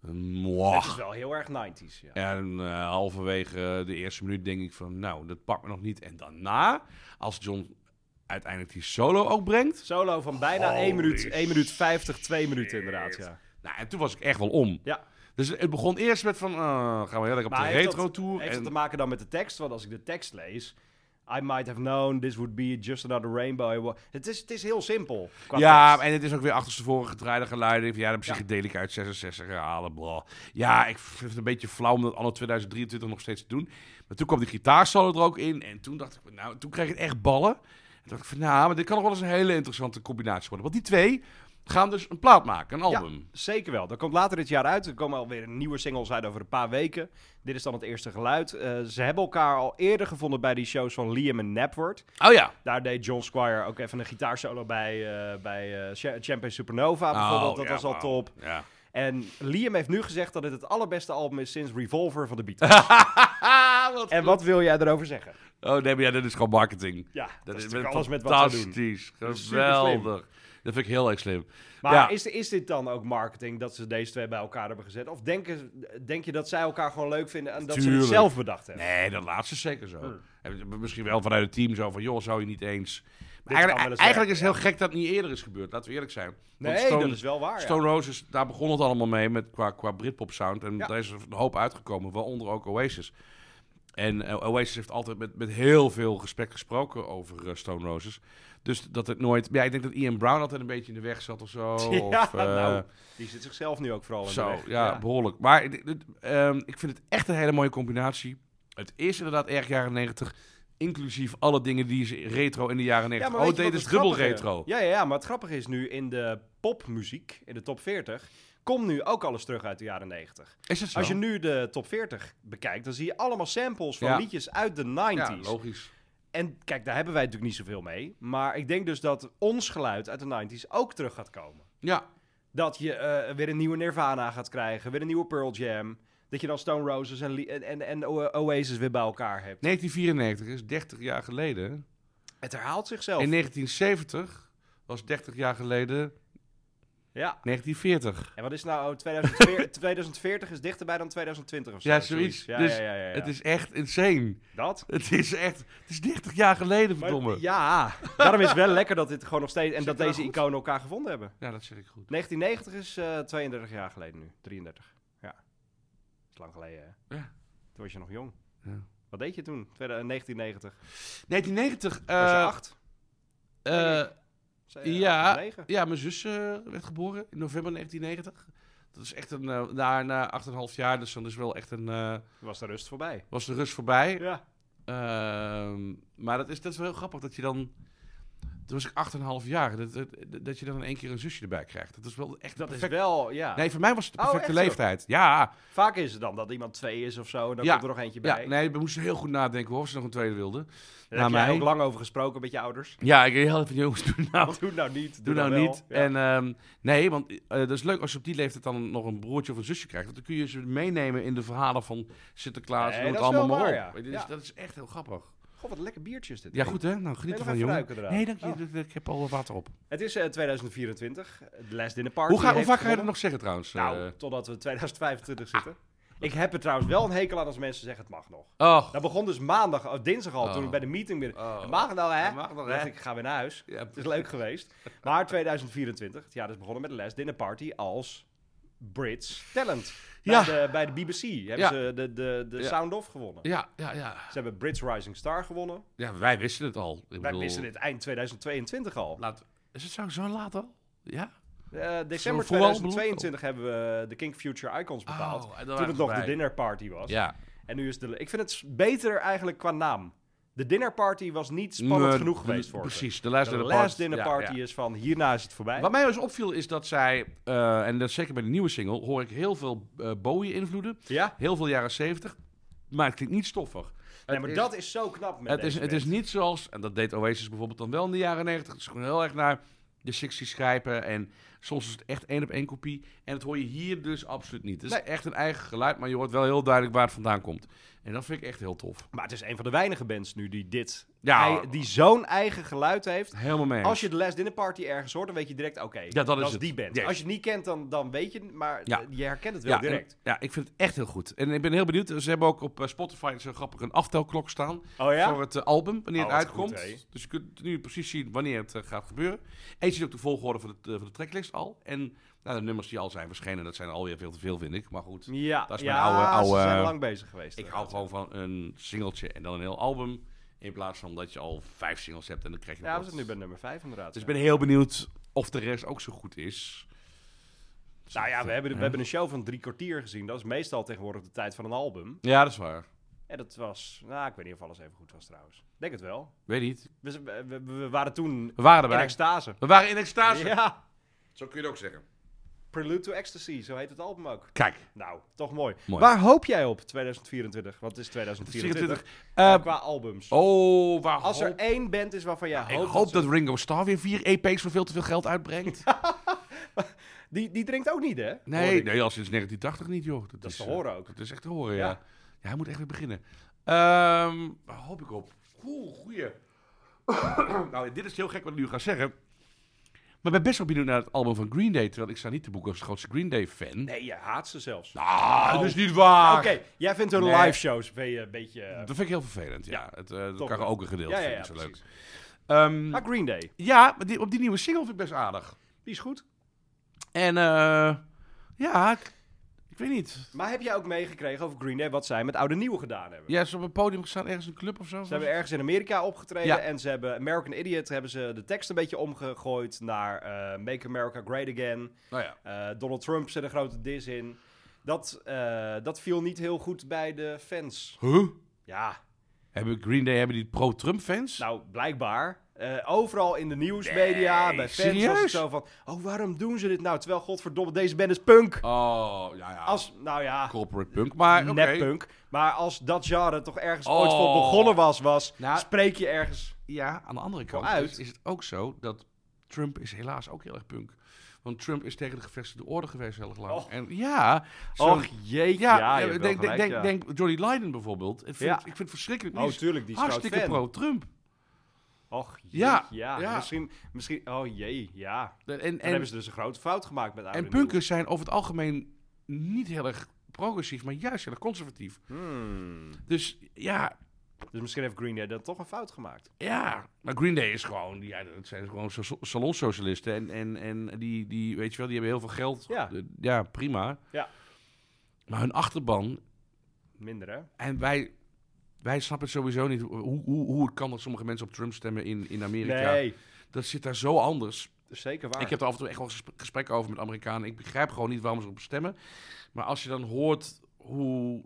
Speaker 3: Het is
Speaker 4: Mwah.
Speaker 3: wel heel erg 90s. Ja.
Speaker 4: En eh, halverwege eh, de eerste minuut denk ik van, nou, dat pakt me nog niet. En daarna, als John uiteindelijk die solo ook brengt.
Speaker 3: Solo van bijna 1
Speaker 4: Holy
Speaker 3: minuut, 1 minuut 50, 2 minuten inderdaad.
Speaker 4: shit.
Speaker 3: Ja.
Speaker 4: Nou, en toen was ik echt wel om.
Speaker 3: ja.
Speaker 4: Dus het begon eerst met van, eh, gaan we heel erg op de
Speaker 3: heeft
Speaker 4: retro
Speaker 3: dat-
Speaker 4: tour.
Speaker 3: Heeft
Speaker 4: en-
Speaker 3: dat te maken dan met de tekst? Want als ik de tekst lees... I might have known this would be just another rainbow. Het is, het is heel simpel. qua
Speaker 4: Ja,
Speaker 3: tekst.
Speaker 4: en het is ook weer achterstevoren gedraaide geluiden. Van, Ja, dat psychedelica uit 66 herhalen, bla. Ja, ik vind het een beetje flauw om dat anno 2023 nog steeds te doen. Maar toen kwam die gitaarsolo er ook in. En toen dacht ik, nou, toen kreeg ik echt ballen. En toen dacht ik van, nou, maar dit kan nog wel eens een hele interessante combinatie worden. Want die twee gaan dus een plaat maken, een album.
Speaker 3: Ja, zeker wel. Dat komt later dit jaar uit. Er komen alweer nieuwe singles uit over een paar weken. Dit is dan het eerste geluid. Eh, ze hebben elkaar al eerder gevonden bij die shows van Liam en Napworth.
Speaker 4: Oh ja.
Speaker 3: Daar deed John Squire ook even een gitaarsolo bij, eh, bij eh Cha- Champagne Supernova bijvoorbeeld.
Speaker 4: Oh,
Speaker 3: dat
Speaker 4: ja,
Speaker 3: was al
Speaker 4: wauw.
Speaker 3: top.
Speaker 4: Ja. [laughs]
Speaker 3: En Liam heeft nu gezegd dat dit het allerbeste album is sinds Revolver van de Beatles. en wat wil jij erover zeggen?
Speaker 4: Oh nee, maar ja, dit is gewoon marketing.
Speaker 3: Ja, dat, is
Speaker 4: is
Speaker 3: natuurlijk alles met wat ze doen.
Speaker 4: fantastisch.
Speaker 3: Dat is superslim.
Speaker 4: Geweldig. Dat vind ik heel erg slim.
Speaker 3: Maar
Speaker 4: ja.
Speaker 3: is, is dit dan ook marketing dat ze deze twee bij elkaar hebben gezet? Of denken, denk je dat zij elkaar gewoon leuk vinden en dat ze
Speaker 4: Tuurlijk.
Speaker 3: het zelf bedacht hebben?
Speaker 4: Nee, dat laatste is zeker zo.
Speaker 3: Hmm.
Speaker 4: En Misschien wel vanuit het team zo van, joh, zou je niet eens... Maar
Speaker 3: kan wel
Speaker 4: eigenlijk
Speaker 3: eens
Speaker 4: eigenlijk is
Speaker 3: werken,
Speaker 4: het heel gek dat het niet eerder is gebeurd, laten we eerlijk zijn. Want
Speaker 3: Nee, dat is wel waar, ja.
Speaker 4: Stone Roses, daar begon het allemaal mee met, qua, qua Britpop sound. En
Speaker 3: Ja.
Speaker 4: daar is er een hoop uitgekomen, waaronder ook Oasis. En eh, Oasis heeft altijd met, met heel veel gesprek gesproken over eh, Stone Roses. Dus dat het nooit... Ja, ik denk dat Ian Brown altijd een beetje in de weg zat of
Speaker 3: [laughs]
Speaker 4: zo.
Speaker 3: [laughs] Ja,
Speaker 4: of, eh,
Speaker 3: nou, die zit zichzelf nu ook vooral in
Speaker 4: zo,
Speaker 3: de weg.
Speaker 4: ja, behoorlijk. Maar dit- dit, ehm, ik vind het echt een hele mooie combinatie. Het is inderdaad erg jaren 90. Inclusief alle dingen die ze retro in de jaren
Speaker 3: Ja,
Speaker 4: 90.
Speaker 3: maar weet
Speaker 4: oh,
Speaker 3: je wat
Speaker 4: dit is
Speaker 3: het
Speaker 4: dubbel
Speaker 3: grappige-
Speaker 4: retro.
Speaker 3: Ja, ja, ja, maar het grappige is nu in de popmuziek, in de top 40, komt nu ook alles terug uit de jaren 90.
Speaker 4: Is het zo?
Speaker 3: Als je nu de top 40 bekijkt, dan zie je allemaal samples van
Speaker 4: Ja.
Speaker 3: liedjes uit de 90s.
Speaker 4: ja, logisch.
Speaker 3: en kijk, daar hebben wij natuurlijk niet zoveel mee. Maar ik denk dus dat ons geluid uit de 90s ook terug gaat komen.
Speaker 4: Ja,
Speaker 3: Dat je eh, weer een nieuwe Nirvana gaat krijgen, weer een nieuwe Pearl Jam. Dat je dan Stone Roses en, Lee- en, en, en O- Oasis weer bij elkaar hebt.
Speaker 4: 1994 is 30 jaar geleden.
Speaker 3: Het herhaalt zichzelf.
Speaker 4: In 1970 was 30 jaar geleden
Speaker 3: ja.
Speaker 4: 1940.
Speaker 3: En wat is nou
Speaker 4: [laughs]
Speaker 3: 2040, 2040 is dichterbij dan 2020 of zo?
Speaker 4: Ja, zoiets.
Speaker 3: Ja,
Speaker 4: dus
Speaker 3: ja, ja, ja, ja.
Speaker 4: het is echt insane.
Speaker 3: dat.
Speaker 4: Het is echt... Het is 30 jaar geleden,
Speaker 3: Maar-
Speaker 4: verdomme. ja.
Speaker 3: ja,
Speaker 4: [laughs]
Speaker 3: daarom is het wel lekker dat dit gewoon nog steeds en
Speaker 4: Zit
Speaker 3: dat
Speaker 4: er
Speaker 3: deze
Speaker 4: goed?
Speaker 3: iconen elkaar gevonden hebben.
Speaker 4: dat zeg ik goed.
Speaker 3: 1990 is eh, 32 jaar geleden nu, 33. Ja, is lang geleden. Hè?
Speaker 4: Ja.
Speaker 3: Toen was je nog jong.
Speaker 4: Ja.
Speaker 3: Wat deed je toen? Tweede- eh, 1990.
Speaker 4: 1990...
Speaker 3: Was je
Speaker 4: eh,
Speaker 3: acht?
Speaker 4: eh,
Speaker 3: Zei je,
Speaker 4: Ja,
Speaker 3: acht of negen?
Speaker 4: ja mijn zus eh, werd geboren in november 1990. Dat is echt een, eh, na, na 8,5 jaar, dus dan is wel echt een, eh,
Speaker 3: Was de rust voorbij?
Speaker 4: was de rust voorbij.
Speaker 3: Ja.
Speaker 4: Ehm, maar dat is, dat is wel heel grappig dat je dan, toen was ik 8,5 jaar, dat, dat, dat je dan in één keer een zusje erbij krijgt. Dat is wel echt
Speaker 3: Dat is
Speaker 4: perfect.
Speaker 3: wel, ja.
Speaker 4: Nee, voor mij was het de
Speaker 3: Oh,
Speaker 4: perfecte
Speaker 3: echt zo?
Speaker 4: leeftijd. Ja,
Speaker 3: Vaak is het dan dat iemand twee is of zo en dan
Speaker 4: Ja.
Speaker 3: komt er nog eentje
Speaker 4: ja,
Speaker 3: bij.
Speaker 4: nee, we moesten heel goed nadenken hoor, of ze nog een tweede wilden.
Speaker 3: Daar
Speaker 4: na
Speaker 3: heb jij
Speaker 4: mij.
Speaker 3: ook lang over gesproken met je ouders.
Speaker 4: Ja, ik heel even, jongens, doe nou
Speaker 3: [laughs] Doe nou niet.
Speaker 4: Doe nou
Speaker 3: dan wel.
Speaker 4: niet.
Speaker 3: Ja.
Speaker 4: En ehm, nee, want eh, dat is leuk als je op die leeftijd dan nog een broertje of een zusje krijgt. Want dan kun je ze meenemen in de verhalen van Sinterklaas
Speaker 3: Nee,
Speaker 4: en noem
Speaker 3: dat
Speaker 4: het
Speaker 3: is wel
Speaker 4: allemaal maar
Speaker 3: waar,
Speaker 4: op.
Speaker 3: ja.
Speaker 4: Dit is-
Speaker 3: Ja.
Speaker 4: Dat is echt heel grappig.
Speaker 3: Goh, wat lekker biertjes dit.
Speaker 4: eh, Ja, goed hè? Nou,
Speaker 3: Nee, nog
Speaker 4: geniet ervan,
Speaker 3: even
Speaker 4: jongen.
Speaker 3: ruiken eraan.
Speaker 4: Nee, dank je.
Speaker 3: Oh.
Speaker 4: Ik- Ik heb al water op.
Speaker 3: Het is eh, 2024. The Last Dinner Party
Speaker 4: Hoe, ga, hoe
Speaker 3: heeft
Speaker 4: vaak ga je
Speaker 3: gewonnen.
Speaker 4: dat nog Eh. Ah. zeggen trouwens?
Speaker 3: Nou, totdat we 2025 zitten. Ik heb er trouwens wel een hekel aan als mensen zeggen het mag nog.
Speaker 4: Eh, oh.
Speaker 3: Dat begon dus maandag, of dinsdag al, toen
Speaker 4: Oh.
Speaker 3: ik bij de meeting binnen.
Speaker 4: Oh.
Speaker 3: Het mag nou, hè?
Speaker 4: Het mag nog,
Speaker 3: Toen
Speaker 4: hè?
Speaker 3: dacht Ik ik ga weer naar huis.
Speaker 4: Ja.
Speaker 3: Het is leuk geweest. Maar 2024, het jaar is begonnen met de Les Dinner Party als Brits Talent.
Speaker 4: Ja.
Speaker 3: Bij, de, bij de BBC hebben
Speaker 4: Ja.
Speaker 3: ze de, de, de
Speaker 4: Ja.
Speaker 3: Sound Off gewonnen.
Speaker 4: Ja, ja, ja.
Speaker 3: Ze hebben Brits Rising Star gewonnen.
Speaker 4: ja, wij wisten het al. Ik
Speaker 3: Wij
Speaker 4: bedoel,
Speaker 3: wisten dit eind 2022 al.
Speaker 4: Laat, is het zo, zo laat al? Ja?
Speaker 3: Eh, december
Speaker 4: voetbal bedoel-
Speaker 3: 2022 hebben we eh, de King Future Icons bepaald.
Speaker 4: Oh, en daar
Speaker 3: toen
Speaker 4: waren
Speaker 3: het
Speaker 4: we
Speaker 3: nog de
Speaker 4: bij.
Speaker 3: Dinner Party was.
Speaker 4: Ja.
Speaker 3: En nu is de. Ik vind het s- beter eigenlijk qua naam. De Dinner Party was niet spannend
Speaker 4: Nee,
Speaker 3: genoeg
Speaker 4: de-
Speaker 3: geweest voor ze.
Speaker 4: Precies, de last
Speaker 3: De
Speaker 4: dinner
Speaker 3: last
Speaker 4: party.
Speaker 3: Dinner
Speaker 4: Ja,
Speaker 3: Party
Speaker 4: ja.
Speaker 3: is van hierna is het voorbij.
Speaker 4: Wat mij dus opviel is dat zij, eh, en dat is zeker bij de nieuwe single, hoor ik heel veel eh, Bowie-invloeden.
Speaker 3: Ja?
Speaker 4: Heel veel jaren 70. Maar het klinkt niet stoffig.
Speaker 3: Nee,
Speaker 4: Het
Speaker 3: maar
Speaker 4: is-
Speaker 3: dat is zo knap met
Speaker 4: het is,
Speaker 3: deze
Speaker 4: het is
Speaker 3: band.
Speaker 4: niet zoals, en dat deed Oasis bijvoorbeeld dan wel in de jaren 90. Het is gewoon heel erg naar de 60 schrijven. En soms is het echt één op één kopie. En dat hoor je hier dus absoluut niet. Het is
Speaker 3: Nee.
Speaker 4: echt een eigen geluid, maar je hoort wel heel duidelijk waar het vandaan komt. En dat vind ik echt heel tof.
Speaker 3: Maar het is een van de weinige bands nu die dit...
Speaker 4: Ja.
Speaker 3: ei- die zo'n eigen geluid heeft.
Speaker 4: Helemaal mee. eens.
Speaker 3: Als je de Last Dinner Party ergens hoort, dan weet je direct... Oké,
Speaker 4: dat is het.
Speaker 3: die band.
Speaker 4: Yes.
Speaker 3: Als je het niet kent, dan, dan weet je het. Maar
Speaker 4: Ja.
Speaker 3: eh, je herkent het wel
Speaker 4: ja,
Speaker 3: direct.
Speaker 4: en- ja, ik vind het echt heel goed. En ik ben heel benieuwd. Ze hebben ook op eh, Spotify zo grappig een aftelklok staan.
Speaker 3: Oh ja?
Speaker 4: Voor het eh, album, wanneer
Speaker 3: Oh,
Speaker 4: het
Speaker 3: wat goed,
Speaker 4: uitkomt.
Speaker 3: hè?
Speaker 4: dus je kunt nu precies zien wanneer het eh, gaat gebeuren. En je ziet ook de volgorde van, het, eh, van de tracklist al. En nou, de nummers die al zijn verschenen, dat zijn er alweer veel te veel, vind ik. Maar goed,
Speaker 3: Ja,
Speaker 4: Dat is mijn
Speaker 3: ja,
Speaker 4: oude- oude-
Speaker 3: ze zijn lang bezig geweest.
Speaker 4: ik hou gewoon van een singeltje en dan een heel album. In plaats van dat je al vijf singles hebt en dan krijg je
Speaker 3: Ja,
Speaker 4: nog
Speaker 3: we
Speaker 4: wat.
Speaker 3: zitten nu bij nummer 5 inderdaad.
Speaker 4: Dus ik
Speaker 3: ja.
Speaker 4: ben heel benieuwd of de rest ook zo goed is.
Speaker 3: Nou ja, we hebben, we
Speaker 4: Ja.
Speaker 3: hebben een show van drie kwartier gezien. Dat is meestal tegenwoordig de tijd van een album.
Speaker 4: Ja, dat is waar.
Speaker 3: En dat was... Nou, ik weet niet of alles even goed was trouwens. Ik Denk het wel.
Speaker 4: Weet niet.
Speaker 3: We, we- we- we waren toen
Speaker 4: We waren
Speaker 3: in
Speaker 4: erbij.
Speaker 3: extase.
Speaker 4: We waren in extase.
Speaker 3: Ja.
Speaker 4: Zo kun je het ook zeggen.
Speaker 3: Prelude to Ecstasy, zo heet het album ook.
Speaker 4: Kijk.
Speaker 3: Nou, toch mooi.
Speaker 4: Mooi.
Speaker 3: Waar hoop jij op 2024? Want het is 2024.
Speaker 4: 24.
Speaker 3: Maar
Speaker 4: Eh,
Speaker 3: qua albums.
Speaker 4: oh, waar
Speaker 3: Als
Speaker 4: hoop...
Speaker 3: er één band is waarvan jij
Speaker 4: Ik
Speaker 3: hoopt...
Speaker 4: hoop,
Speaker 3: ze-
Speaker 4: dat, Ringo Starr weer vier EP's voor veel te veel geld
Speaker 3: [laughs]
Speaker 4: uitbrengt.
Speaker 3: Die, die drinkt ook niet, hè? Hoor
Speaker 4: nee,
Speaker 3: ik.
Speaker 4: nee, al sinds 1980 niet, joh. Dat,
Speaker 3: Dat is te
Speaker 4: eh,
Speaker 3: horen ook.
Speaker 4: Dat is echt te horen,
Speaker 3: Ja.
Speaker 4: ja. ja. hij moet echt weer beginnen. Ehm, waar hoop ik op. Cool, goeie. [coughs] nou, dit is heel gek wat ik nu ga zeggen. Maar ik ben best wel benieuwd naar het album van Green Day. Terwijl ik sta niet te boeken als de grootste Green Day-fan.
Speaker 3: Nee, je haat ze zelfs.
Speaker 4: Ah, dat is niet waar.
Speaker 3: Oké, jij vindt hun
Speaker 4: Nee.
Speaker 3: live shows ben je een beetje... eh,
Speaker 4: Dat vind ik heel vervelend, ja.
Speaker 3: Ja,
Speaker 4: het eh het
Speaker 3: toch
Speaker 4: karaoke gedeelte
Speaker 3: Ja, ja,
Speaker 4: vind ik
Speaker 3: ja,
Speaker 4: zo leuk.
Speaker 3: precies.
Speaker 4: Ehm,
Speaker 3: maar Green Day,
Speaker 4: ja, maar die, op die nieuwe single vind ik best aardig.
Speaker 3: die is goed.
Speaker 4: En eh, ja, ik, ik weet niet.
Speaker 3: Maar heb jij ook meegekregen over Green Day wat zij met Oude Nieuwe gedaan hebben?
Speaker 4: Ja, ze op een podium gestaan ergens in een club of zo.
Speaker 3: Ze hebben ergens in Amerika opgetreden
Speaker 4: Ja.
Speaker 3: en ze hebben American Idiot hebben ze de tekst een beetje omgegooid naar eh, Make America Great Again.
Speaker 4: Nou ja.
Speaker 3: Eh, Donald Trump zet een grote dis in. Dat, eh, dat viel niet heel goed bij de fans.
Speaker 4: Huh?
Speaker 3: Ja,
Speaker 4: Hebben Green Day hebben die pro-Trump fans?
Speaker 3: nou blijkbaar. Eh, overal in de nieuwsmedia,
Speaker 4: Nee,
Speaker 3: bij fans was het
Speaker 4: serieus?
Speaker 3: zo van... Oh, waarom doen ze dit nou? Terwijl, godverdomme, deze band is punk.
Speaker 4: Oh, ja, ja.
Speaker 3: Als, nou ja,
Speaker 4: corporate punk, maar oké.
Speaker 3: nep punk. Maar als dat genre toch ergens
Speaker 4: Oh.
Speaker 3: ooit voor begonnen was, was
Speaker 4: Nou,
Speaker 3: spreek je ergens...
Speaker 4: Ja, aan de andere kant
Speaker 3: Vooruit.
Speaker 4: is, is het ook zo dat Trump is helaas ook heel erg punk. Want Trump is tegen de gevestigde orde geweest heel erg lang.
Speaker 3: Och.
Speaker 4: En ja, zo'n-
Speaker 3: Och jeetje,
Speaker 4: ja,
Speaker 3: ja, je hebt wel
Speaker 4: denk, denk,
Speaker 3: gelijk,
Speaker 4: denk,
Speaker 3: ja.
Speaker 4: denk Johnny Lydon bijvoorbeeld. Ik vind,
Speaker 3: Ja.
Speaker 4: ik vind het verschrikkelijk.
Speaker 3: Oh,
Speaker 4: Die is
Speaker 3: tuurlijk, die is groot
Speaker 4: hartstikke
Speaker 3: fan.
Speaker 4: pro-Trump.
Speaker 3: Och jeetje, ja,
Speaker 4: Ja,
Speaker 3: ja.
Speaker 4: ja.
Speaker 3: Misschien, misschien, oh jee, ja. Dan
Speaker 4: En, en,
Speaker 3: hebben ze dus een grote fout gemaakt met oude
Speaker 4: en punkers zijn over het algemeen niet heel erg progressief, maar juist heel erg conservatief.
Speaker 3: Nieuwe. Hmm.
Speaker 4: Dus ja,
Speaker 3: Dus misschien heeft Green Day dan toch een fout gemaakt.
Speaker 4: Ja, maar Green Day is gewoon, ja, dat zijn gewoon so- salonsocialisten. En, en, en die, die, weet je wel, die hebben heel veel geld.
Speaker 3: Ja.
Speaker 4: Eh, ja prima.
Speaker 3: Ja.
Speaker 4: Maar hun achterban,
Speaker 3: Minder, hè?
Speaker 4: en wij, wij snappen het sowieso niet hoe, hoe, hoe het kan dat sommige mensen op Trump stemmen in, in Amerika.
Speaker 3: Nee,
Speaker 4: Dat zit daar zo anders.
Speaker 3: dat is zeker waar.
Speaker 4: Ik heb er af en toe echt wel gesp- gesprekken over met Amerikanen. Ik begrijp gewoon niet waarom ze op stemmen. Maar als je dan hoort hoe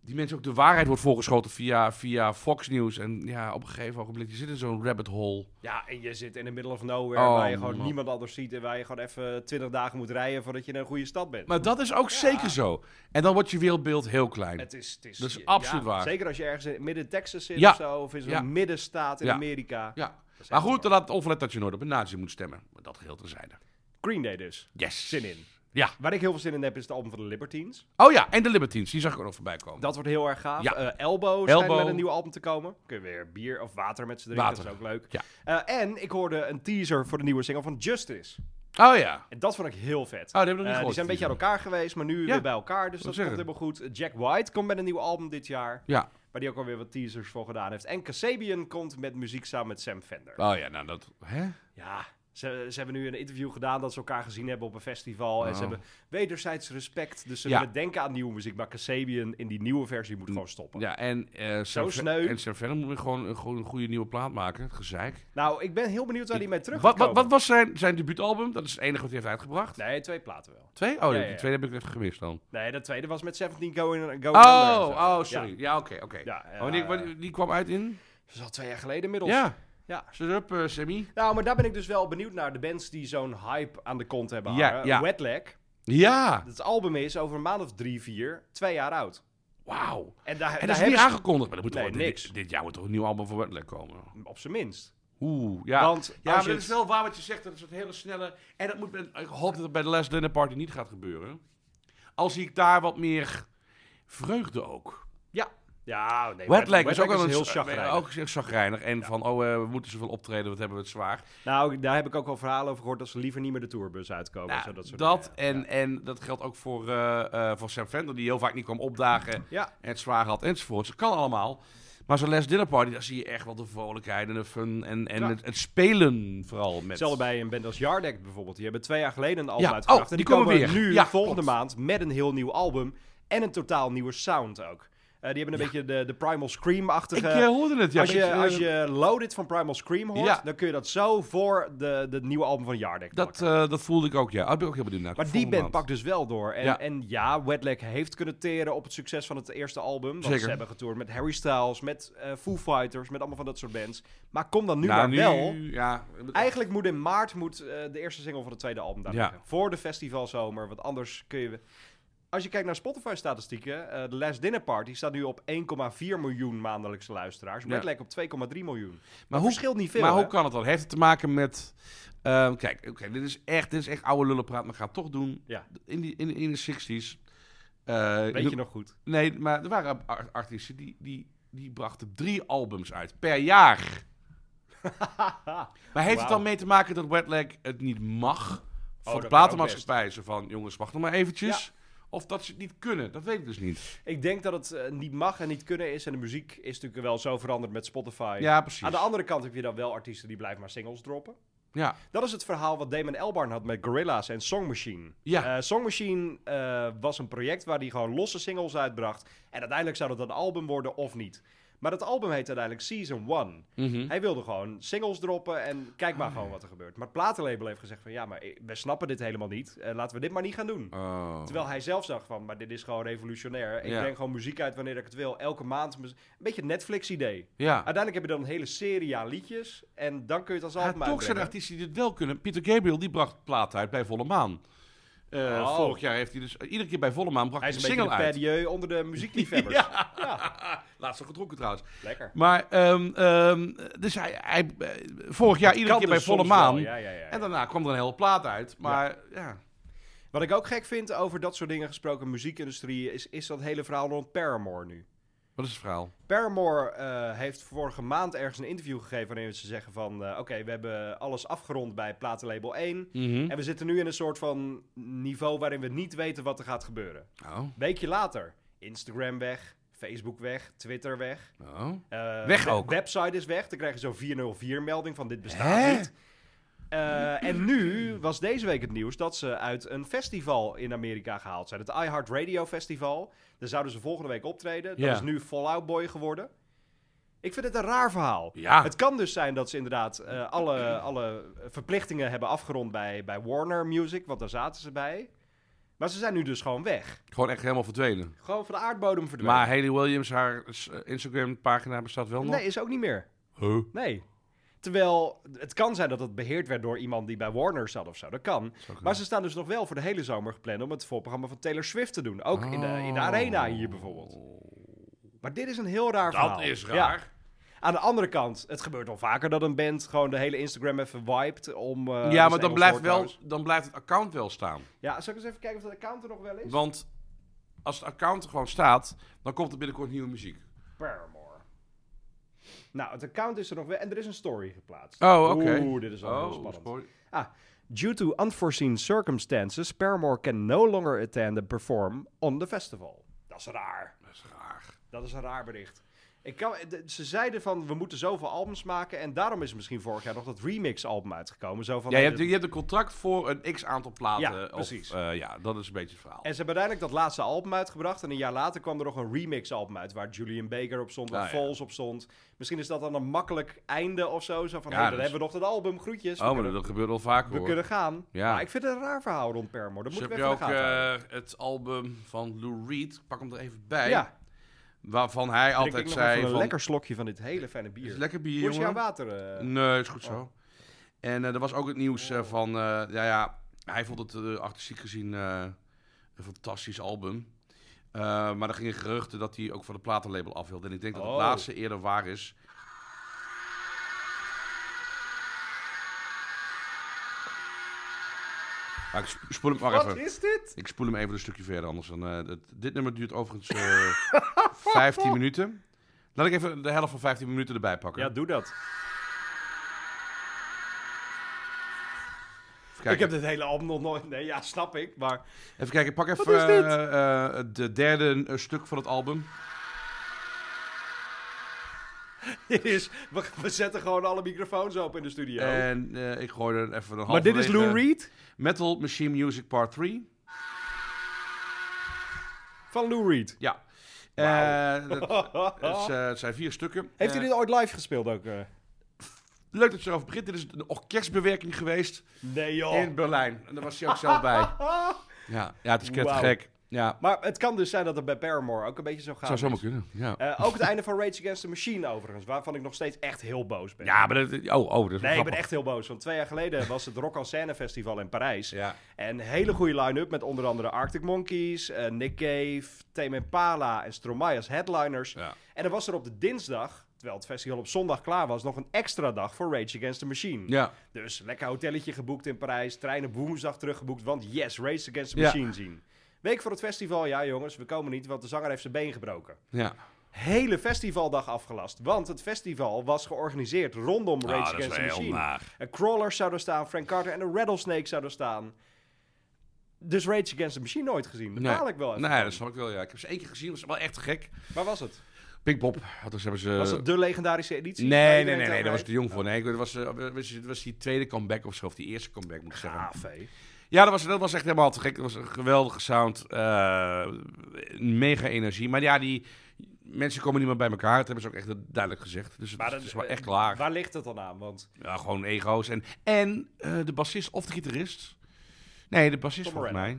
Speaker 4: die mensen ook de waarheid wordt voorgeschoten via, via Fox News. En ja, op een gegeven ogenblik, je zit in zo'n rabbit hole.
Speaker 3: Ja, en je zit in de middle of nowhere
Speaker 4: Oh,
Speaker 3: waar je gewoon
Speaker 4: man.
Speaker 3: niemand anders ziet en waar je gewoon even 20 dagen moet rijden voordat je in een goede stad bent.
Speaker 4: Maar dat is ook zeker zo. En dan wordt je wereldbeeld heel klein.
Speaker 3: Het is, het is,
Speaker 4: Dat is
Speaker 3: ja,
Speaker 4: absoluut waar.
Speaker 3: Zeker als je ergens in midden Texas zit
Speaker 4: Ja.
Speaker 3: of zo, of in zo'n
Speaker 4: Ja.
Speaker 3: middenstaat in
Speaker 4: Ja.
Speaker 3: Amerika.
Speaker 4: ja.
Speaker 3: is
Speaker 4: Maar
Speaker 3: echt
Speaker 4: goed,
Speaker 3: waar.
Speaker 4: laat onverlet dat je nooit op een nazi moet stemmen. Maar dat geheel terzijde.
Speaker 3: Green Day dus.
Speaker 4: Yes.
Speaker 3: Zin in.
Speaker 4: Ja.
Speaker 3: Waar ik heel veel zin in heb is het album van de Libertines.
Speaker 4: Oh ja, en de Libertines. Die zag ik ook nog voorbij komen.
Speaker 3: Dat wordt heel erg gaaf.
Speaker 4: Ja.
Speaker 3: Eh, Elbow schijnt
Speaker 4: Elbow.
Speaker 3: met een nieuw album te komen. Kun je weer bier of water met z'n drinken,
Speaker 4: Water.
Speaker 3: dat is ook leuk.
Speaker 4: Ja.
Speaker 3: Eh, en ik hoorde een teaser voor de nieuwe single van Justice.
Speaker 4: Oh ja.
Speaker 3: En dat vond ik heel vet.
Speaker 4: Oh, die hebben we nog
Speaker 3: Eh,
Speaker 4: niet
Speaker 3: die
Speaker 4: gehoord,
Speaker 3: zijn een beetje aan
Speaker 4: teaser.
Speaker 3: elkaar geweest, maar nu
Speaker 4: Ja.
Speaker 3: weer bij elkaar. Dus dat
Speaker 4: zeggen.
Speaker 3: komt helemaal goed. Jack White komt met een nieuw album dit jaar.
Speaker 4: Ja.
Speaker 3: Waar die ook alweer wat teasers voor gedaan heeft. En Kasabian komt met muziek samen met Sam Fender.
Speaker 4: Oh ja, nou dat... Hè?
Speaker 3: Ja, Ze, ze hebben nu een interview gedaan dat ze elkaar gezien hebben op een festival. En
Speaker 4: Oh.
Speaker 3: ze hebben wederzijds respect. Dus ze
Speaker 4: Ja.
Speaker 3: willen denken aan nieuwe muziek. Maar Kasabian in die nieuwe versie moet gewoon stoppen.
Speaker 4: Ja, en eh
Speaker 3: Zo
Speaker 4: Sam-
Speaker 3: sneu.
Speaker 4: En Sam Venom moet weer gewoon een, gewoon een goede nieuwe plaat maken. Gezeik.
Speaker 3: Nou, ik ben heel benieuwd waar die mee terug
Speaker 4: Wat,
Speaker 3: gaat
Speaker 4: wat, wat
Speaker 3: komen.
Speaker 4: was zijn, zijn debuutalbum? Dat is het enige wat hij heeft uitgebracht.
Speaker 3: Nee, twee platen wel.
Speaker 4: Twee? Oh,
Speaker 3: Ja,
Speaker 4: die
Speaker 3: ja, ja.
Speaker 4: twee heb ik even gemist dan.
Speaker 3: Nee, dat tweede was met 17 Going, uh, going Under.
Speaker 4: Oh,
Speaker 3: en zo.
Speaker 4: oh,
Speaker 3: Ja.
Speaker 4: sorry. Ja, oké, oké.
Speaker 3: Ja,
Speaker 4: Oh, die,
Speaker 3: eh,
Speaker 4: wat- die kwam uit in?
Speaker 3: Dat is al twee jaar geleden inmiddels.
Speaker 4: Ja.
Speaker 3: Ja.
Speaker 4: Zet up, eh, Sammy.
Speaker 3: Nou, maar daar ben ik dus wel benieuwd naar. De bands die zo'n hype aan de kont hebben.
Speaker 4: Ja,
Speaker 3: hangen.
Speaker 4: ja.
Speaker 3: Wetlag.
Speaker 4: Ja.
Speaker 3: Het album is over een maand of drie, vier, twee jaar oud.
Speaker 4: Wauw.
Speaker 3: En daar, daar
Speaker 4: En dat is niet
Speaker 3: hebben ze-
Speaker 4: aangekondigd, maar dat moet
Speaker 3: Nee,
Speaker 4: toch wel- dit-
Speaker 3: niks.
Speaker 4: Dit, jaar moet toch een nieuw album voor Wetlag komen?
Speaker 3: Op zijn minst.
Speaker 4: Oeh, ja. Oh,
Speaker 3: Want als
Speaker 4: ja, maar
Speaker 3: je
Speaker 4: dat is
Speaker 3: het-
Speaker 4: wel waar wat je zegt. Dat is een soort hele snelle... En dat moet met, ik hoop dat het bij de Last Dinner Party niet gaat gebeuren. Al zie ik daar wat meer vreugde ook.
Speaker 3: Ja. Ja, nee.
Speaker 4: Wetlag is dus ook
Speaker 3: wel
Speaker 4: wel een
Speaker 3: heel
Speaker 4: s-
Speaker 3: chagrijnig.
Speaker 4: Ook zeer chagrijnig. En van, oh, eh, we moeten zoveel optreden, wat hebben we het zwaar.
Speaker 3: Nou, daar heb ik ook wel verhalen over gehoord dat ze liever niet meer de tourbus uitkomen.
Speaker 4: Nou,
Speaker 3: zo, dat soort
Speaker 4: dat
Speaker 3: dingen.
Speaker 4: en, en dat geldt ook voor, eh, eh, voor Sam Fender, die heel vaak niet kwam opdagen.
Speaker 3: Ja.
Speaker 4: en het zwaar had enzovoort. Dat kan allemaal. Maar zo'n Les Dinner Party, daar zie je echt wel de vrolijkheid en de fun en, en
Speaker 3: Ja.
Speaker 4: het, het spelen vooral. Met...
Speaker 3: Hetzelfde bij een band als Yardek bijvoorbeeld. Die hebben twee jaar geleden een album
Speaker 4: Ja.
Speaker 3: uitgebracht.
Speaker 4: Oh,
Speaker 3: en
Speaker 4: die
Speaker 3: die,
Speaker 4: komen
Speaker 3: komen,
Speaker 4: weer.
Speaker 3: nu,
Speaker 4: Ja,
Speaker 3: volgende
Speaker 4: klopt.
Speaker 3: maand, met een heel nieuw album. En een totaal nieuwe sound ook. Eh, die hebben een beetje de, de Primal
Speaker 4: Ik
Speaker 3: Scream-achtige...
Speaker 4: eh, hoorde het, ja.
Speaker 3: als, je,
Speaker 4: Beetje,
Speaker 3: als
Speaker 4: eh,
Speaker 3: je Loaded van Primal Scream hoort,
Speaker 4: Ja.
Speaker 3: dan kun je dat zo voor de, de nieuwe album van Yardek
Speaker 4: Dat, eh, dat voelde ik ook, ja. Daar ben ik ook heel benieuwd naar.
Speaker 3: Maar die
Speaker 4: Volgende
Speaker 3: band
Speaker 4: maand.
Speaker 3: pakt dus wel door. En
Speaker 4: Ja.
Speaker 3: ja, en ja Wetlag heeft kunnen teren op het succes van het eerste album. Want
Speaker 4: Zeker.
Speaker 3: ze hebben getoerd met Harry Styles, met eh, Foo Fighters, met allemaal van dat soort bands. Maar kom dan nu
Speaker 4: Nou,
Speaker 3: maar wel.
Speaker 4: Ja,
Speaker 3: Eigenlijk moet in maart moet, eh, de eerste single van het tweede album daar
Speaker 4: Ja.
Speaker 3: liggen. Voor de festivalzomer, want anders kun je... Als je kijkt naar Spotify-statistieken, eh, de Last Dinner Party staat nu op 1,4 miljoen maandelijkse luisteraars.
Speaker 4: Ja.
Speaker 3: Wetlag op 2,3 miljoen.
Speaker 4: maar
Speaker 3: Hoe,
Speaker 4: hoe,
Speaker 3: verschilt niet veel,
Speaker 4: maar
Speaker 3: hè?
Speaker 4: hoe kan het dan? Heeft het te maken met... ehm, kijk, oké, dit, is echt, dit is echt oude lullenpraat, maar ik ga het toch doen.
Speaker 3: Ja.
Speaker 4: In, die, in, in de 60s. eh,
Speaker 3: Weet je nog goed? [laughs]
Speaker 4: Nee, maar er waren ar- artiesten die, die, die brachten drie albums uit per jaar. maar heeft het
Speaker 3: Wauw. Oh,
Speaker 4: dan mee te maken dat Wetlag het niet mag? Van
Speaker 3: dat
Speaker 4: de
Speaker 3: kan
Speaker 4: platenmaatschappij zo van, jongens, wacht nog maar eventjes. Of dat ze het niet kunnen, dat weet ik dus niet.
Speaker 3: Ik denk dat het eh, niet mag en niet kunnen is. En de muziek is natuurlijk wel zo veranderd met Spotify.
Speaker 4: Ja, precies.
Speaker 3: Aan de andere kant heb je dan wel artiesten die blijven maar singles droppen.
Speaker 4: Ja,
Speaker 3: Dat is het verhaal wat Damon Elbarn had met Gorillaz en Song Machine.
Speaker 4: Ja.
Speaker 3: Eh, Song Machine eh, was een project waar hij gewoon losse singles uitbracht. En uiteindelijk zou dat een album worden of niet. Maar dat album heet uiteindelijk Season 1.
Speaker 4: Mhm. Hm.
Speaker 3: Hij wilde gewoon singles droppen en kijk
Speaker 4: Ah.
Speaker 3: maar gewoon wat er gebeurt. Maar het platenlabel heeft gezegd van ja, maar eh, we snappen dit helemaal niet. Eh, laten we dit maar niet gaan doen.
Speaker 4: Oh.
Speaker 3: Terwijl hij zelf zag van, maar dit is gewoon revolutionair. Ik
Speaker 4: Ja.
Speaker 3: breng gewoon muziek uit wanneer ik het wil. Elke maand. muz- Een beetje een Netflix-idee.
Speaker 4: ja.
Speaker 3: Uiteindelijk heb je dan een hele serie aan liedjes. En dan kun je het als
Speaker 4: Ja,
Speaker 3: album
Speaker 4: toch zijn er
Speaker 3: uitbrengen.
Speaker 4: artiesten die het wel kunnen. Pieter Gabriel, die bracht plaat uit bij Volle Maan. Eh,
Speaker 3: Oh.
Speaker 4: Vorig jaar heeft hij dus, iedere keer bij Volle Maan bracht
Speaker 3: Hij
Speaker 4: hij
Speaker 3: is
Speaker 4: een
Speaker 3: een beetje
Speaker 4: single
Speaker 3: de
Speaker 4: uit.
Speaker 3: padieu onder de
Speaker 4: [laughs]
Speaker 3: muziekliefhebbers. ja.
Speaker 4: Laatst nog gedronken trouwens.
Speaker 3: lekker.
Speaker 4: Maar, ehm, ehm, dus hij, hij, eh, vorig jaar iedere
Speaker 3: Kan
Speaker 4: keer
Speaker 3: dus
Speaker 4: bij volle
Speaker 3: soms wel,
Speaker 4: maan.
Speaker 3: ja, ja, ja, ja.
Speaker 4: En daarna kwam er een hele plaat uit. Maar ja,
Speaker 3: Wat ik ook gek vind over dat soort dingen gesproken, muziekindustrie, is, is dat hele verhaal rond Paramore nu.
Speaker 4: wat is het verhaal?
Speaker 3: Paramore eh, heeft vorige maand ergens een interview gegeven waarin ze zeggen van... eh, Oké, we hebben alles afgerond bij platenlabel 1.
Speaker 4: Hm?
Speaker 3: En we zitten nu in een soort van niveau waarin we niet weten wat er gaat gebeuren.
Speaker 4: Oh,
Speaker 3: Weekje later, Instagram weg, Facebook weg, Twitter weg.
Speaker 4: oh.
Speaker 3: Eh,
Speaker 4: Weg
Speaker 3: we-
Speaker 4: ook.
Speaker 3: Website is weg. Dan krijg je zo'n 404-melding van dit bestaat
Speaker 4: Hè?
Speaker 3: niet. Eh, en nu was deze week het nieuws dat ze uit een festival in Amerika gehaald zijn. Het iHeart Radio Festival. Daar zouden ze volgende week optreden. Dat
Speaker 4: Ja.
Speaker 3: is nu Fallout Boy geworden. Ik vind het een raar verhaal.
Speaker 4: Ja.
Speaker 3: Het kan dus zijn dat ze inderdaad eh, alle, alle verplichtingen hebben afgerond bij, bij Warner Music. Want daar zaten ze bij. Maar ze zijn nu dus gewoon weg.
Speaker 4: Gewoon echt helemaal verdwenen.
Speaker 3: Gewoon van de aardbodem verdwenen.
Speaker 4: Maar Haley Williams, haar s- eh, Instagram-pagina bestaat wel nog.
Speaker 3: Nee, is ook niet meer.
Speaker 4: Huh?
Speaker 3: Nee. Terwijl het kan zijn dat het beheerd werd door iemand die bij Warner zat of zo. Dat kan. Maar ze staan dus nog wel voor de hele zomer gepland om het voorprogramma van Taylor Swift te doen. Ook in, de, in
Speaker 4: Oh.
Speaker 3: de arena hier bijvoorbeeld. Maar dit is een heel raar verhaal.
Speaker 4: Dat is
Speaker 3: Nou, Ja.
Speaker 4: raar.
Speaker 3: Aan de andere kant, het gebeurt al vaker dat een band gewoon de hele Instagram even wiped om... eh,
Speaker 4: Ja,
Speaker 3: dat is
Speaker 4: maar
Speaker 3: Engels
Speaker 4: dan
Speaker 3: woord
Speaker 4: blijft, wel,
Speaker 3: trouwens.
Speaker 4: dan blijft het account wel staan.
Speaker 3: Ja, zal ik eens even kijken of dat account er nog wel is?
Speaker 4: Want als het account er gewoon staat, dan komt er binnenkort nieuwe muziek.
Speaker 3: Paramore. Nou, het account is er nog wel en er is een story geplaatst.
Speaker 4: Oh, oké.
Speaker 3: Oeh, dit is al heel
Speaker 4: Oh,
Speaker 3: spannend.
Speaker 4: spoor-
Speaker 3: Ah, due to unforeseen circumstances, Paramore can no longer attend and perform on the festival. Dat is raar.
Speaker 4: Dat is raar.
Speaker 3: Dat is een raar bericht. Ik kan, de- ze zeiden van, we moeten zoveel albums maken. En daarom is misschien vorig jaar nog dat remix-album uitgekomen. Zo van,
Speaker 4: Ja, je
Speaker 3: hey,
Speaker 4: hebt, je hebt een contract voor een x aantal platen.
Speaker 3: Ja,
Speaker 4: of,
Speaker 3: precies.
Speaker 4: eh, ja, dat is een beetje het verhaal.
Speaker 3: En ze hebben uiteindelijk dat laatste album uitgebracht. En een jaar later kwam er nog een remix-album uit. Waar Julian Baker op stond, waar
Speaker 4: Ah, ja.
Speaker 3: Falls op stond. Misschien is dat dan een makkelijk einde of zo. Zo van,
Speaker 4: Ja,
Speaker 3: hey, dan
Speaker 4: dus-
Speaker 3: hebben we nog dat album. Groetjes. we
Speaker 4: oh, maar dat,
Speaker 3: kunnen,
Speaker 4: dat gebeurt al vaker
Speaker 3: we
Speaker 4: hoor.
Speaker 3: kunnen gaan.
Speaker 4: Ja.
Speaker 3: Maar ik vind het een raar verhaal rond Permo. Dat
Speaker 4: Dus
Speaker 3: moeten
Speaker 4: heb
Speaker 3: we
Speaker 4: je
Speaker 3: even in
Speaker 4: ook
Speaker 3: de gaten houden.
Speaker 4: eh, het album van Lou Reed, pak hem er even bij.
Speaker 3: Ja,
Speaker 4: Waarvan hij
Speaker 3: drink ik
Speaker 4: altijd
Speaker 3: nog even
Speaker 4: zei
Speaker 3: een
Speaker 4: van...
Speaker 3: lekker slokje van dit hele fijne
Speaker 4: "Is
Speaker 3: bier.
Speaker 4: het lekker bier,
Speaker 3: Hoe is jouw
Speaker 4: jongen?
Speaker 3: water? eh?
Speaker 4: Nee, is goed zo. En eh, er was ook het nieuws eh, van... eh, ja, ja, hij vond het eh, artistiek gezien eh, een fantastisch album. Eh, maar er gingen geruchten dat hij ook van de platenlabel af wilde. En ik denk dat
Speaker 3: Oh.
Speaker 4: het laatste eerder waar is. Maar ik sp- spoel hem maar
Speaker 3: Wat
Speaker 4: even.
Speaker 3: is dit?
Speaker 4: Ik spoel hem even een stukje verder, anders dan... eh, het- dit nummer duurt
Speaker 3: [laughs]
Speaker 4: overigens eh 15 minuten. Laat ik even de helft van 15 minuten erbij pakken.
Speaker 3: Ja, doe dat.
Speaker 4: Even kijken.
Speaker 3: Ik heb dit hele album nog nooit... Nee, ja, snap ik. Maar [laughs]
Speaker 4: Even kijken, pak even
Speaker 3: is dit?
Speaker 4: eh, eh, het de derde eh, stuk van het album.
Speaker 3: dit is... We, we zetten gewoon alle microfoons open in de studio.
Speaker 4: En eh, ik gooi er even een half.
Speaker 3: maar dit is Lou Reed?
Speaker 4: Metal Machine Music Part 3.
Speaker 3: Van Lou Reed.
Speaker 4: Ja. Eh dat, het, is, [laughs] eh, het zijn vier stukken.
Speaker 3: Heeft
Speaker 4: Eh,
Speaker 3: hij dit ooit live gespeeld ook? eh?
Speaker 4: Leuk dat je erover begint. Dit is een orkestbewerking geweest
Speaker 3: Nee joh.
Speaker 4: in Berlijn. En daar was hij ook zelf
Speaker 3: [laughs]
Speaker 4: bij. Ja, ja het is
Speaker 3: Wauw.
Speaker 4: gek. Ja,
Speaker 3: Maar het kan dus zijn dat het bij Paramore ook een beetje zo gaat. Eh,
Speaker 4: zou zomaar kunnen. Ja,
Speaker 3: ook het einde van Rage Against the Machine overigens, waarvan ik nog steeds echt heel boos ben.
Speaker 4: ja maar dat... Oh, oh, dat is wel
Speaker 3: Nee, ik ben
Speaker 4: grappig.
Speaker 3: echt heel boos. Want twee jaar geleden was het Rock al Scène Festival in Parijs.
Speaker 4: Ja.
Speaker 3: En een hele goede line-up met onder andere Arctic Monkeys, eh, Nick Cave, Tame Impala en Stromae als headliners.
Speaker 4: Ja.
Speaker 3: En dan was er op de dinsdag, terwijl het festival op zondag klaar was, nog een extra dag voor Rage Against the Machine.
Speaker 4: Ja.
Speaker 3: Dus lekker hotelletje geboekt in Parijs, treinen woensdag teruggeboekt, want yes, Rage Against the
Speaker 4: Ja.
Speaker 3: Machine zien. Week voor het festival, ja jongens, we komen niet, want de zanger heeft zijn been gebroken.
Speaker 4: Ja.
Speaker 3: Hele festivaldag afgelast, want het festival was georganiseerd rondom Rage
Speaker 4: Ah, dat is
Speaker 3: Against the
Speaker 4: wel heel
Speaker 3: Machine.
Speaker 4: naar.
Speaker 3: Een crawler zou er staan, Frank Carter en een rattlesnake zou er staan. Dus Rage Against the Machine nooit gezien. Dat baal ik wel even.
Speaker 4: Nee, dat snap ik wel, ja. Ik heb ze één keer gezien, was wel echt gek.
Speaker 3: Waar was het?
Speaker 4: Pinkpop, hadden ze... hebben ze-
Speaker 3: Was het de legendarische editie? waar
Speaker 4: Eh, Nee, nee,
Speaker 3: iedereen
Speaker 4: nee, nee,
Speaker 3: het
Speaker 4: daar was
Speaker 3: over
Speaker 4: ik te jong voor. Nee, ik- dat was, eh, was, het was die tweede comeback of zo, of die eerste comeback moet ik
Speaker 3: heeft?
Speaker 4: zeggen.
Speaker 3: Ah, V.
Speaker 4: Ja, dat was, dat was echt helemaal te gek. Dat was een geweldige sound. eh, mega energie. Maar ja, die mensen komen niet meer bij elkaar. Dat hebben ze ook echt duidelijk gezegd. Dus het,
Speaker 3: Maar
Speaker 4: is-
Speaker 3: dat-
Speaker 4: het is wel echt klaar.
Speaker 3: eh, Waar ligt het dan aan? Want
Speaker 4: Ja, gewoon ego's. En, en eh, de bassist of de gitarist. Nee, de bassist
Speaker 3: Tom
Speaker 4: volgens
Speaker 3: Morello.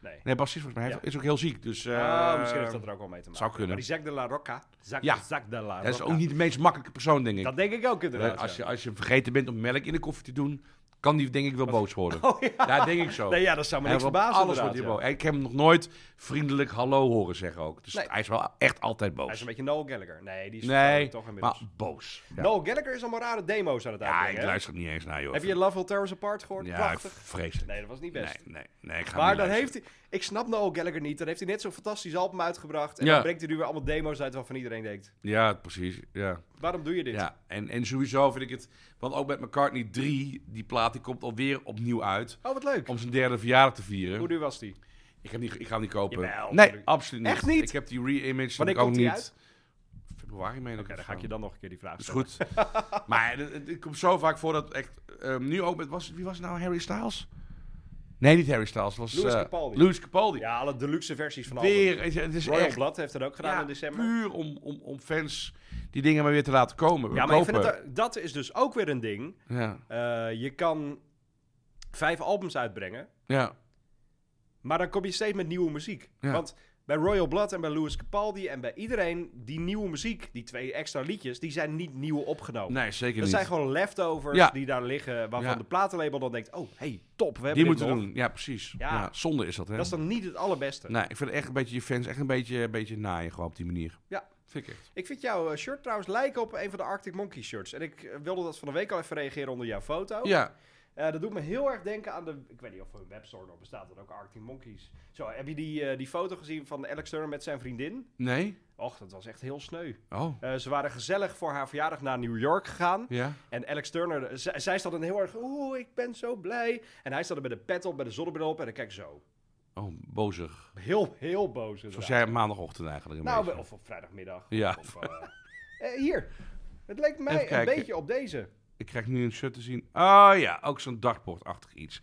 Speaker 4: mij.
Speaker 3: nee.
Speaker 4: Nee, bassist volgens mij
Speaker 3: Ja.
Speaker 4: is ook heel ziek. Dus, eh,
Speaker 3: Ah, misschien heeft dat er ook wel mee te maken.
Speaker 4: zou kunnen.
Speaker 3: Maar die Zack de la Rocca. Zack,
Speaker 4: Ja.
Speaker 3: Zack de la Rocca.
Speaker 4: Hij is ook niet de meest makkelijke persoon, denk ik.
Speaker 3: Dat denk ik ook inderdaad.
Speaker 4: als,
Speaker 3: ja.
Speaker 4: je, als je vergeten bent om melk in de koffie te doen, kan die denk ik wel boos worden.
Speaker 3: [laughs] Oh, ja.
Speaker 4: Ja, denk ik zo.
Speaker 3: Nee, ja, dat zou me
Speaker 4: Hij
Speaker 3: niks
Speaker 4: wordt
Speaker 3: verbazen
Speaker 4: alles
Speaker 3: inderdaad,
Speaker 4: wordt hij
Speaker 3: ja.
Speaker 4: boos. En Ik heb hem nog nooit vriendelijk hallo horen zeggen ook. Dus
Speaker 3: Nee.
Speaker 4: hij is wel echt altijd boos.
Speaker 3: Hij is een beetje Noel Gallagher. Nee, die is
Speaker 4: nee,
Speaker 3: toch inmiddels.
Speaker 4: maar boos. Ja,
Speaker 3: Noel Gallagher is allemaal rare demo's aan het
Speaker 4: ja
Speaker 3: uitbrengen.
Speaker 4: ik
Speaker 3: hè?
Speaker 4: luister niet eens naar, joh.
Speaker 3: Heb je Love Will Tear Us Apart gehoord?
Speaker 4: ja,
Speaker 3: Prachtig.
Speaker 4: vreselijk.
Speaker 3: Nee, dat was niet best.
Speaker 4: Nee, nee, nee, ik ga
Speaker 3: Maar
Speaker 4: hem
Speaker 3: dan
Speaker 4: niet
Speaker 3: heeft hij... Ik snap Noel Gallagher niet. Dan heeft hij net zo'n fantastisch album uitgebracht. En
Speaker 4: Ja.
Speaker 3: dan brengt hij nu weer allemaal demo's uit waarvan iedereen denkt...
Speaker 4: luisteren. Ja, precies. Ja.
Speaker 3: Waarom doe je dit?
Speaker 4: Ja, en, en sowieso vind ik het... Want ook met McCartney 3, die plaat, die komt alweer opnieuw uit.
Speaker 3: Oh, wat leuk.
Speaker 4: Om zijn derde verjaardag te
Speaker 3: Hoe
Speaker 4: vieren.
Speaker 3: duur was die?
Speaker 4: Ik, heb niet, ik ga hem niet kopen.
Speaker 3: Jawel,
Speaker 4: nee,
Speaker 3: natuurlijk.
Speaker 4: absoluut niet.
Speaker 3: Echt niet?
Speaker 4: Ik heb die
Speaker 3: Wanneer
Speaker 4: re-image heb ik ook
Speaker 3: komt die
Speaker 4: niet.
Speaker 3: uit?
Speaker 4: Februari meen ik.
Speaker 3: Oké,
Speaker 4: of
Speaker 3: dan
Speaker 4: zo.
Speaker 3: ga ik je dan nog een keer die vraag
Speaker 4: Is
Speaker 3: stellen.
Speaker 4: goed. [laughs] maar het, het- het komt zo vaak voor dat echt. ehm, nu ook met. Was, wie was het nou Harry Styles? Nee, niet Harry Styles. Was,
Speaker 3: Louis
Speaker 4: eh,
Speaker 3: Capaldi.
Speaker 4: Louis Capaldi.
Speaker 3: Ja, alle deluxe versies van
Speaker 4: Weer.
Speaker 3: albums.
Speaker 4: Het, het is
Speaker 3: Royal
Speaker 4: echt
Speaker 3: Blood heeft dat ook gedaan
Speaker 4: ja,
Speaker 3: in december.
Speaker 4: puur om, om, om fans die dingen maar weer te laten komen.
Speaker 3: Ja, maar ik vind
Speaker 4: kopen.
Speaker 3: het, dat is dus ook weer een ding.
Speaker 4: Ja,
Speaker 3: Eh, je kan vijf albums uitbrengen,
Speaker 4: ja,
Speaker 3: maar dan kom je steeds met nieuwe muziek.
Speaker 4: Ja.
Speaker 3: Want bij Royal Blood en bij Louis Capaldi en bij iedereen, die nieuwe muziek, die twee extra liedjes, die zijn niet nieuw opgenomen.
Speaker 4: nee, zeker
Speaker 3: dat
Speaker 4: niet.
Speaker 3: zijn gewoon leftovers
Speaker 4: Ja.
Speaker 3: die daar liggen, waarvan
Speaker 4: Ja.
Speaker 3: de platenlabel dan denkt, oh, hey, top, we hebben
Speaker 4: die
Speaker 3: dit
Speaker 4: moeten
Speaker 3: nog.
Speaker 4: doen. Ja, precies. Ja.
Speaker 3: Ja.
Speaker 4: zonde is dat, hè?
Speaker 3: Dat is dan niet het allerbeste.
Speaker 4: Nee, ik vind echt een beetje je fans echt een beetje, een beetje naaien gewoon op die manier.
Speaker 3: Ja.
Speaker 4: Vind ik echt.
Speaker 3: Ik vind jouw eh, shirt trouwens lijken op een van de Arctic Monkey shirts. En ik eh, wilde dat van de week al even reageren onder jouw foto.
Speaker 4: Ja.
Speaker 3: Eh, dat doet me heel erg denken aan de. Ik weet niet of er een webstore nog bestaat, dat ook Arctic Monkeys. Zo, heb je die, eh, die foto gezien van Alex Turner met zijn vriendin?
Speaker 4: Nee?
Speaker 3: Och, dat was echt heel sneu.
Speaker 4: Oh.
Speaker 3: Eh, ze waren gezellig voor haar verjaardag naar New York gegaan.
Speaker 4: Ja.
Speaker 3: En Alex Turner, eh, z- zij stond dan heel erg. Oeh, ik ben zo blij. En hij stond er met een pet op, met een zonnebril op. En dan kijk zo.
Speaker 4: Oh, bozig.
Speaker 3: Heel, heel boos.
Speaker 4: Zoals
Speaker 3: inderdaad.
Speaker 4: jij op maandagochtend eigenlijk. Een
Speaker 3: Nou,
Speaker 4: beetje.
Speaker 3: of op vrijdagmiddag.
Speaker 4: Ja.
Speaker 3: Of, eh, [laughs] Eh, hier. Het leek mij
Speaker 4: Even
Speaker 3: een
Speaker 4: kijken.
Speaker 3: beetje op deze.
Speaker 4: Ik krijg nu een shirt te zien. Oh ja, ook zo'n dartboard-achtig iets.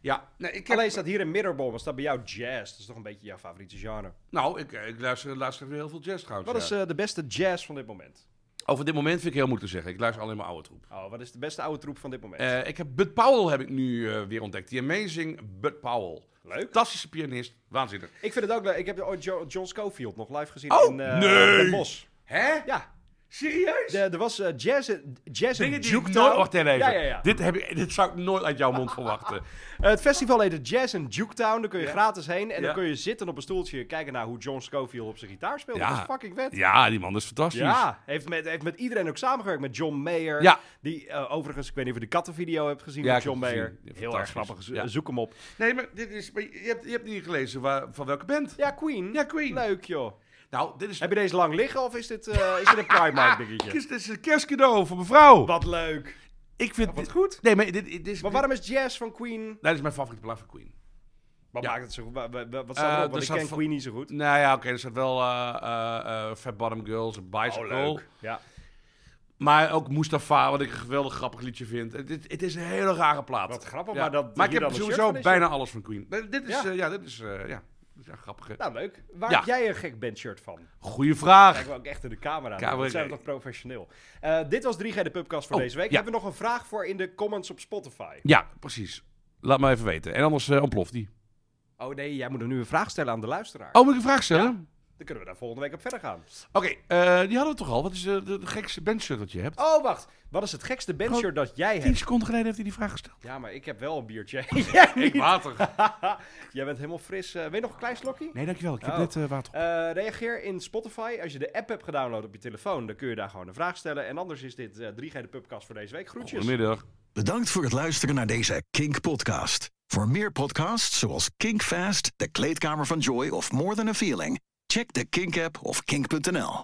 Speaker 4: Ja, nee, ik heb-
Speaker 3: Alleen staat hier een middenbom, maar staat bij jou jazz. Dat is toch een beetje jouw favoriete genre.
Speaker 4: Nou, ik, ik luister laatst weer heel veel jazz trouwens.
Speaker 3: Wat is
Speaker 4: ja.
Speaker 3: eh, de beste jazz van dit moment?
Speaker 4: Over dit moment vind ik heel moeilijk te zeggen. Ik luister alleen maar oude troep.
Speaker 3: Oh, wat is de beste oude troep van dit moment?
Speaker 4: Eh, ik heb Bud Powell heb ik nu eh, weer ontdekt. Die amazing Bud Powell.
Speaker 3: Leuk.
Speaker 4: Fantastische pianist. Waanzinnig.
Speaker 3: Ik vind het ook leuk. Ik heb ooit Jo- John Schofield nog live gezien
Speaker 4: Oh,
Speaker 3: in eh
Speaker 4: nee.
Speaker 3: Den Bosch.
Speaker 4: Hè?
Speaker 3: Ja,
Speaker 4: Serieus?
Speaker 3: de- er was eh, jazz, jazz
Speaker 4: Dingen
Speaker 3: en
Speaker 4: die ik
Speaker 3: Juke
Speaker 4: nooit... Wacht even.
Speaker 3: Ja, ja, ja.
Speaker 4: Dit, heb ik, dit zou ik nooit uit jouw mond verwachten.
Speaker 3: Eh, het festival heette Jazz in Juketown. Daar kun je gratis heen. En
Speaker 4: Ja.
Speaker 3: dan kun je zitten op een stoeltje kijken naar hoe John Scofield op zijn gitaar speelt.
Speaker 4: Ja.
Speaker 3: Dat is fucking vet. Ja.
Speaker 4: Ja, die man is fantastisch.
Speaker 3: heeft met, heeft met iedereen ook samengewerkt. Met John Mayer.
Speaker 4: Ja.
Speaker 3: Die eh, overigens, ik weet niet of je de kattenvideo hebt gezien
Speaker 4: Ja,
Speaker 3: van
Speaker 4: ik heb
Speaker 3: John
Speaker 4: het
Speaker 3: Mayer.
Speaker 4: gezien. Ja,
Speaker 3: Heel erg
Speaker 4: fantastisch.
Speaker 3: grappig. Zo-
Speaker 4: Ja.
Speaker 3: Zoek hem op.
Speaker 4: Nee, maar, dit is, maar je, hebt, je hebt niet gelezen waar, van welke band.
Speaker 3: Ja, Queen.
Speaker 4: Ja, Queen.
Speaker 3: Leuk joh.
Speaker 4: Nou, dit is,
Speaker 3: Heb je deze lang liggen of is dit, eh, is dit een Primark
Speaker 4: [laughs]
Speaker 3: dingetje?
Speaker 4: dit is een kerstcadeau voor mevrouw.
Speaker 3: Wat leuk.
Speaker 4: Ik vind
Speaker 3: Wat
Speaker 4: dit-
Speaker 3: goed.
Speaker 4: Nee, maar dit, dit is...
Speaker 3: Maar waarom is jazz van Queen?
Speaker 4: Nee, dit is mijn favoriete plaat van Queen.
Speaker 3: Wat
Speaker 4: Ja.
Speaker 3: maakt het zo goed? Wa- wa- wa- Wat
Speaker 4: Eh,
Speaker 3: staat erop?
Speaker 4: er
Speaker 3: Want ik
Speaker 4: staat
Speaker 3: ken
Speaker 4: van-
Speaker 3: Queen niet zo goed.
Speaker 4: Nou ja, oké, er staat wel eh, eh, eh, Fat Bottom Girls, en Bicycle.
Speaker 3: Oh, Ja.
Speaker 4: maar ook Mustafa, wat ik een geweldig grappig liedje vind. Het, het, het is een hele rare plaat.
Speaker 3: Wat grappig,
Speaker 4: Ja.
Speaker 3: maar dat
Speaker 4: Maar ik
Speaker 3: hier
Speaker 4: heb
Speaker 3: dan een shirt
Speaker 4: sowieso
Speaker 3: van is,
Speaker 4: bijna alles van Queen. Nee, Dit is,
Speaker 3: Ja.
Speaker 4: ja, ja dit is, eh, ja, dit is ja, grappig. hè.
Speaker 3: Nou, leuk. Waar
Speaker 4: Ja.
Speaker 3: heb jij een gek bandshirt van?
Speaker 4: Goeie vraag.
Speaker 3: Kijken we ook echt in de camera.
Speaker 4: Camera.
Speaker 3: Dat zijn we toch professioneel. Eh, dit was 3G de Pubcast voor
Speaker 4: Oh,
Speaker 3: deze week.
Speaker 4: ja.
Speaker 3: Hebben we nog een vraag voor in de comments op Spotify?
Speaker 4: Ja, precies. Laat me even weten. En anders eh, ontploft die.
Speaker 3: Oh nee, jij moet nu een vraag stellen aan de luisteraar.
Speaker 4: Oh, moet ik een vraag stellen?
Speaker 3: Dan kunnen we daar volgende week op verder gaan.
Speaker 4: Oké, eh, die hadden we toch al. Wat is de, de, de gekste bandshirt dat je hebt?
Speaker 3: Oh, wacht. Wat is het gekste bandshirt dat jij
Speaker 4: Tien
Speaker 3: hebt?
Speaker 4: seconden geleden heeft hij die vraag gesteld.
Speaker 3: Ja, maar ik heb wel een biertje. [laughs] jij niet.
Speaker 4: water.
Speaker 3: [laughs] jij bent helemaal fris. eh weet je nog een klein slokje?
Speaker 4: Nee, dankjewel. Ik heb
Speaker 3: Oh.
Speaker 4: net eh, water. op.
Speaker 3: Eh, reageer in Spotify. Als je de app hebt gedownload op je telefoon, dan kun je daar gewoon een vraag stellen. En anders is dit eh, 3G de Pubcast voor deze week. Groetjes.
Speaker 4: Goedemiddag.
Speaker 1: Bedankt voor het luisteren naar deze Kink podcast. Voor meer podcasts zoals Kink Fast, De Kleedkamer van Joy of More Than a Feeling, check de Kink app of kink.nl.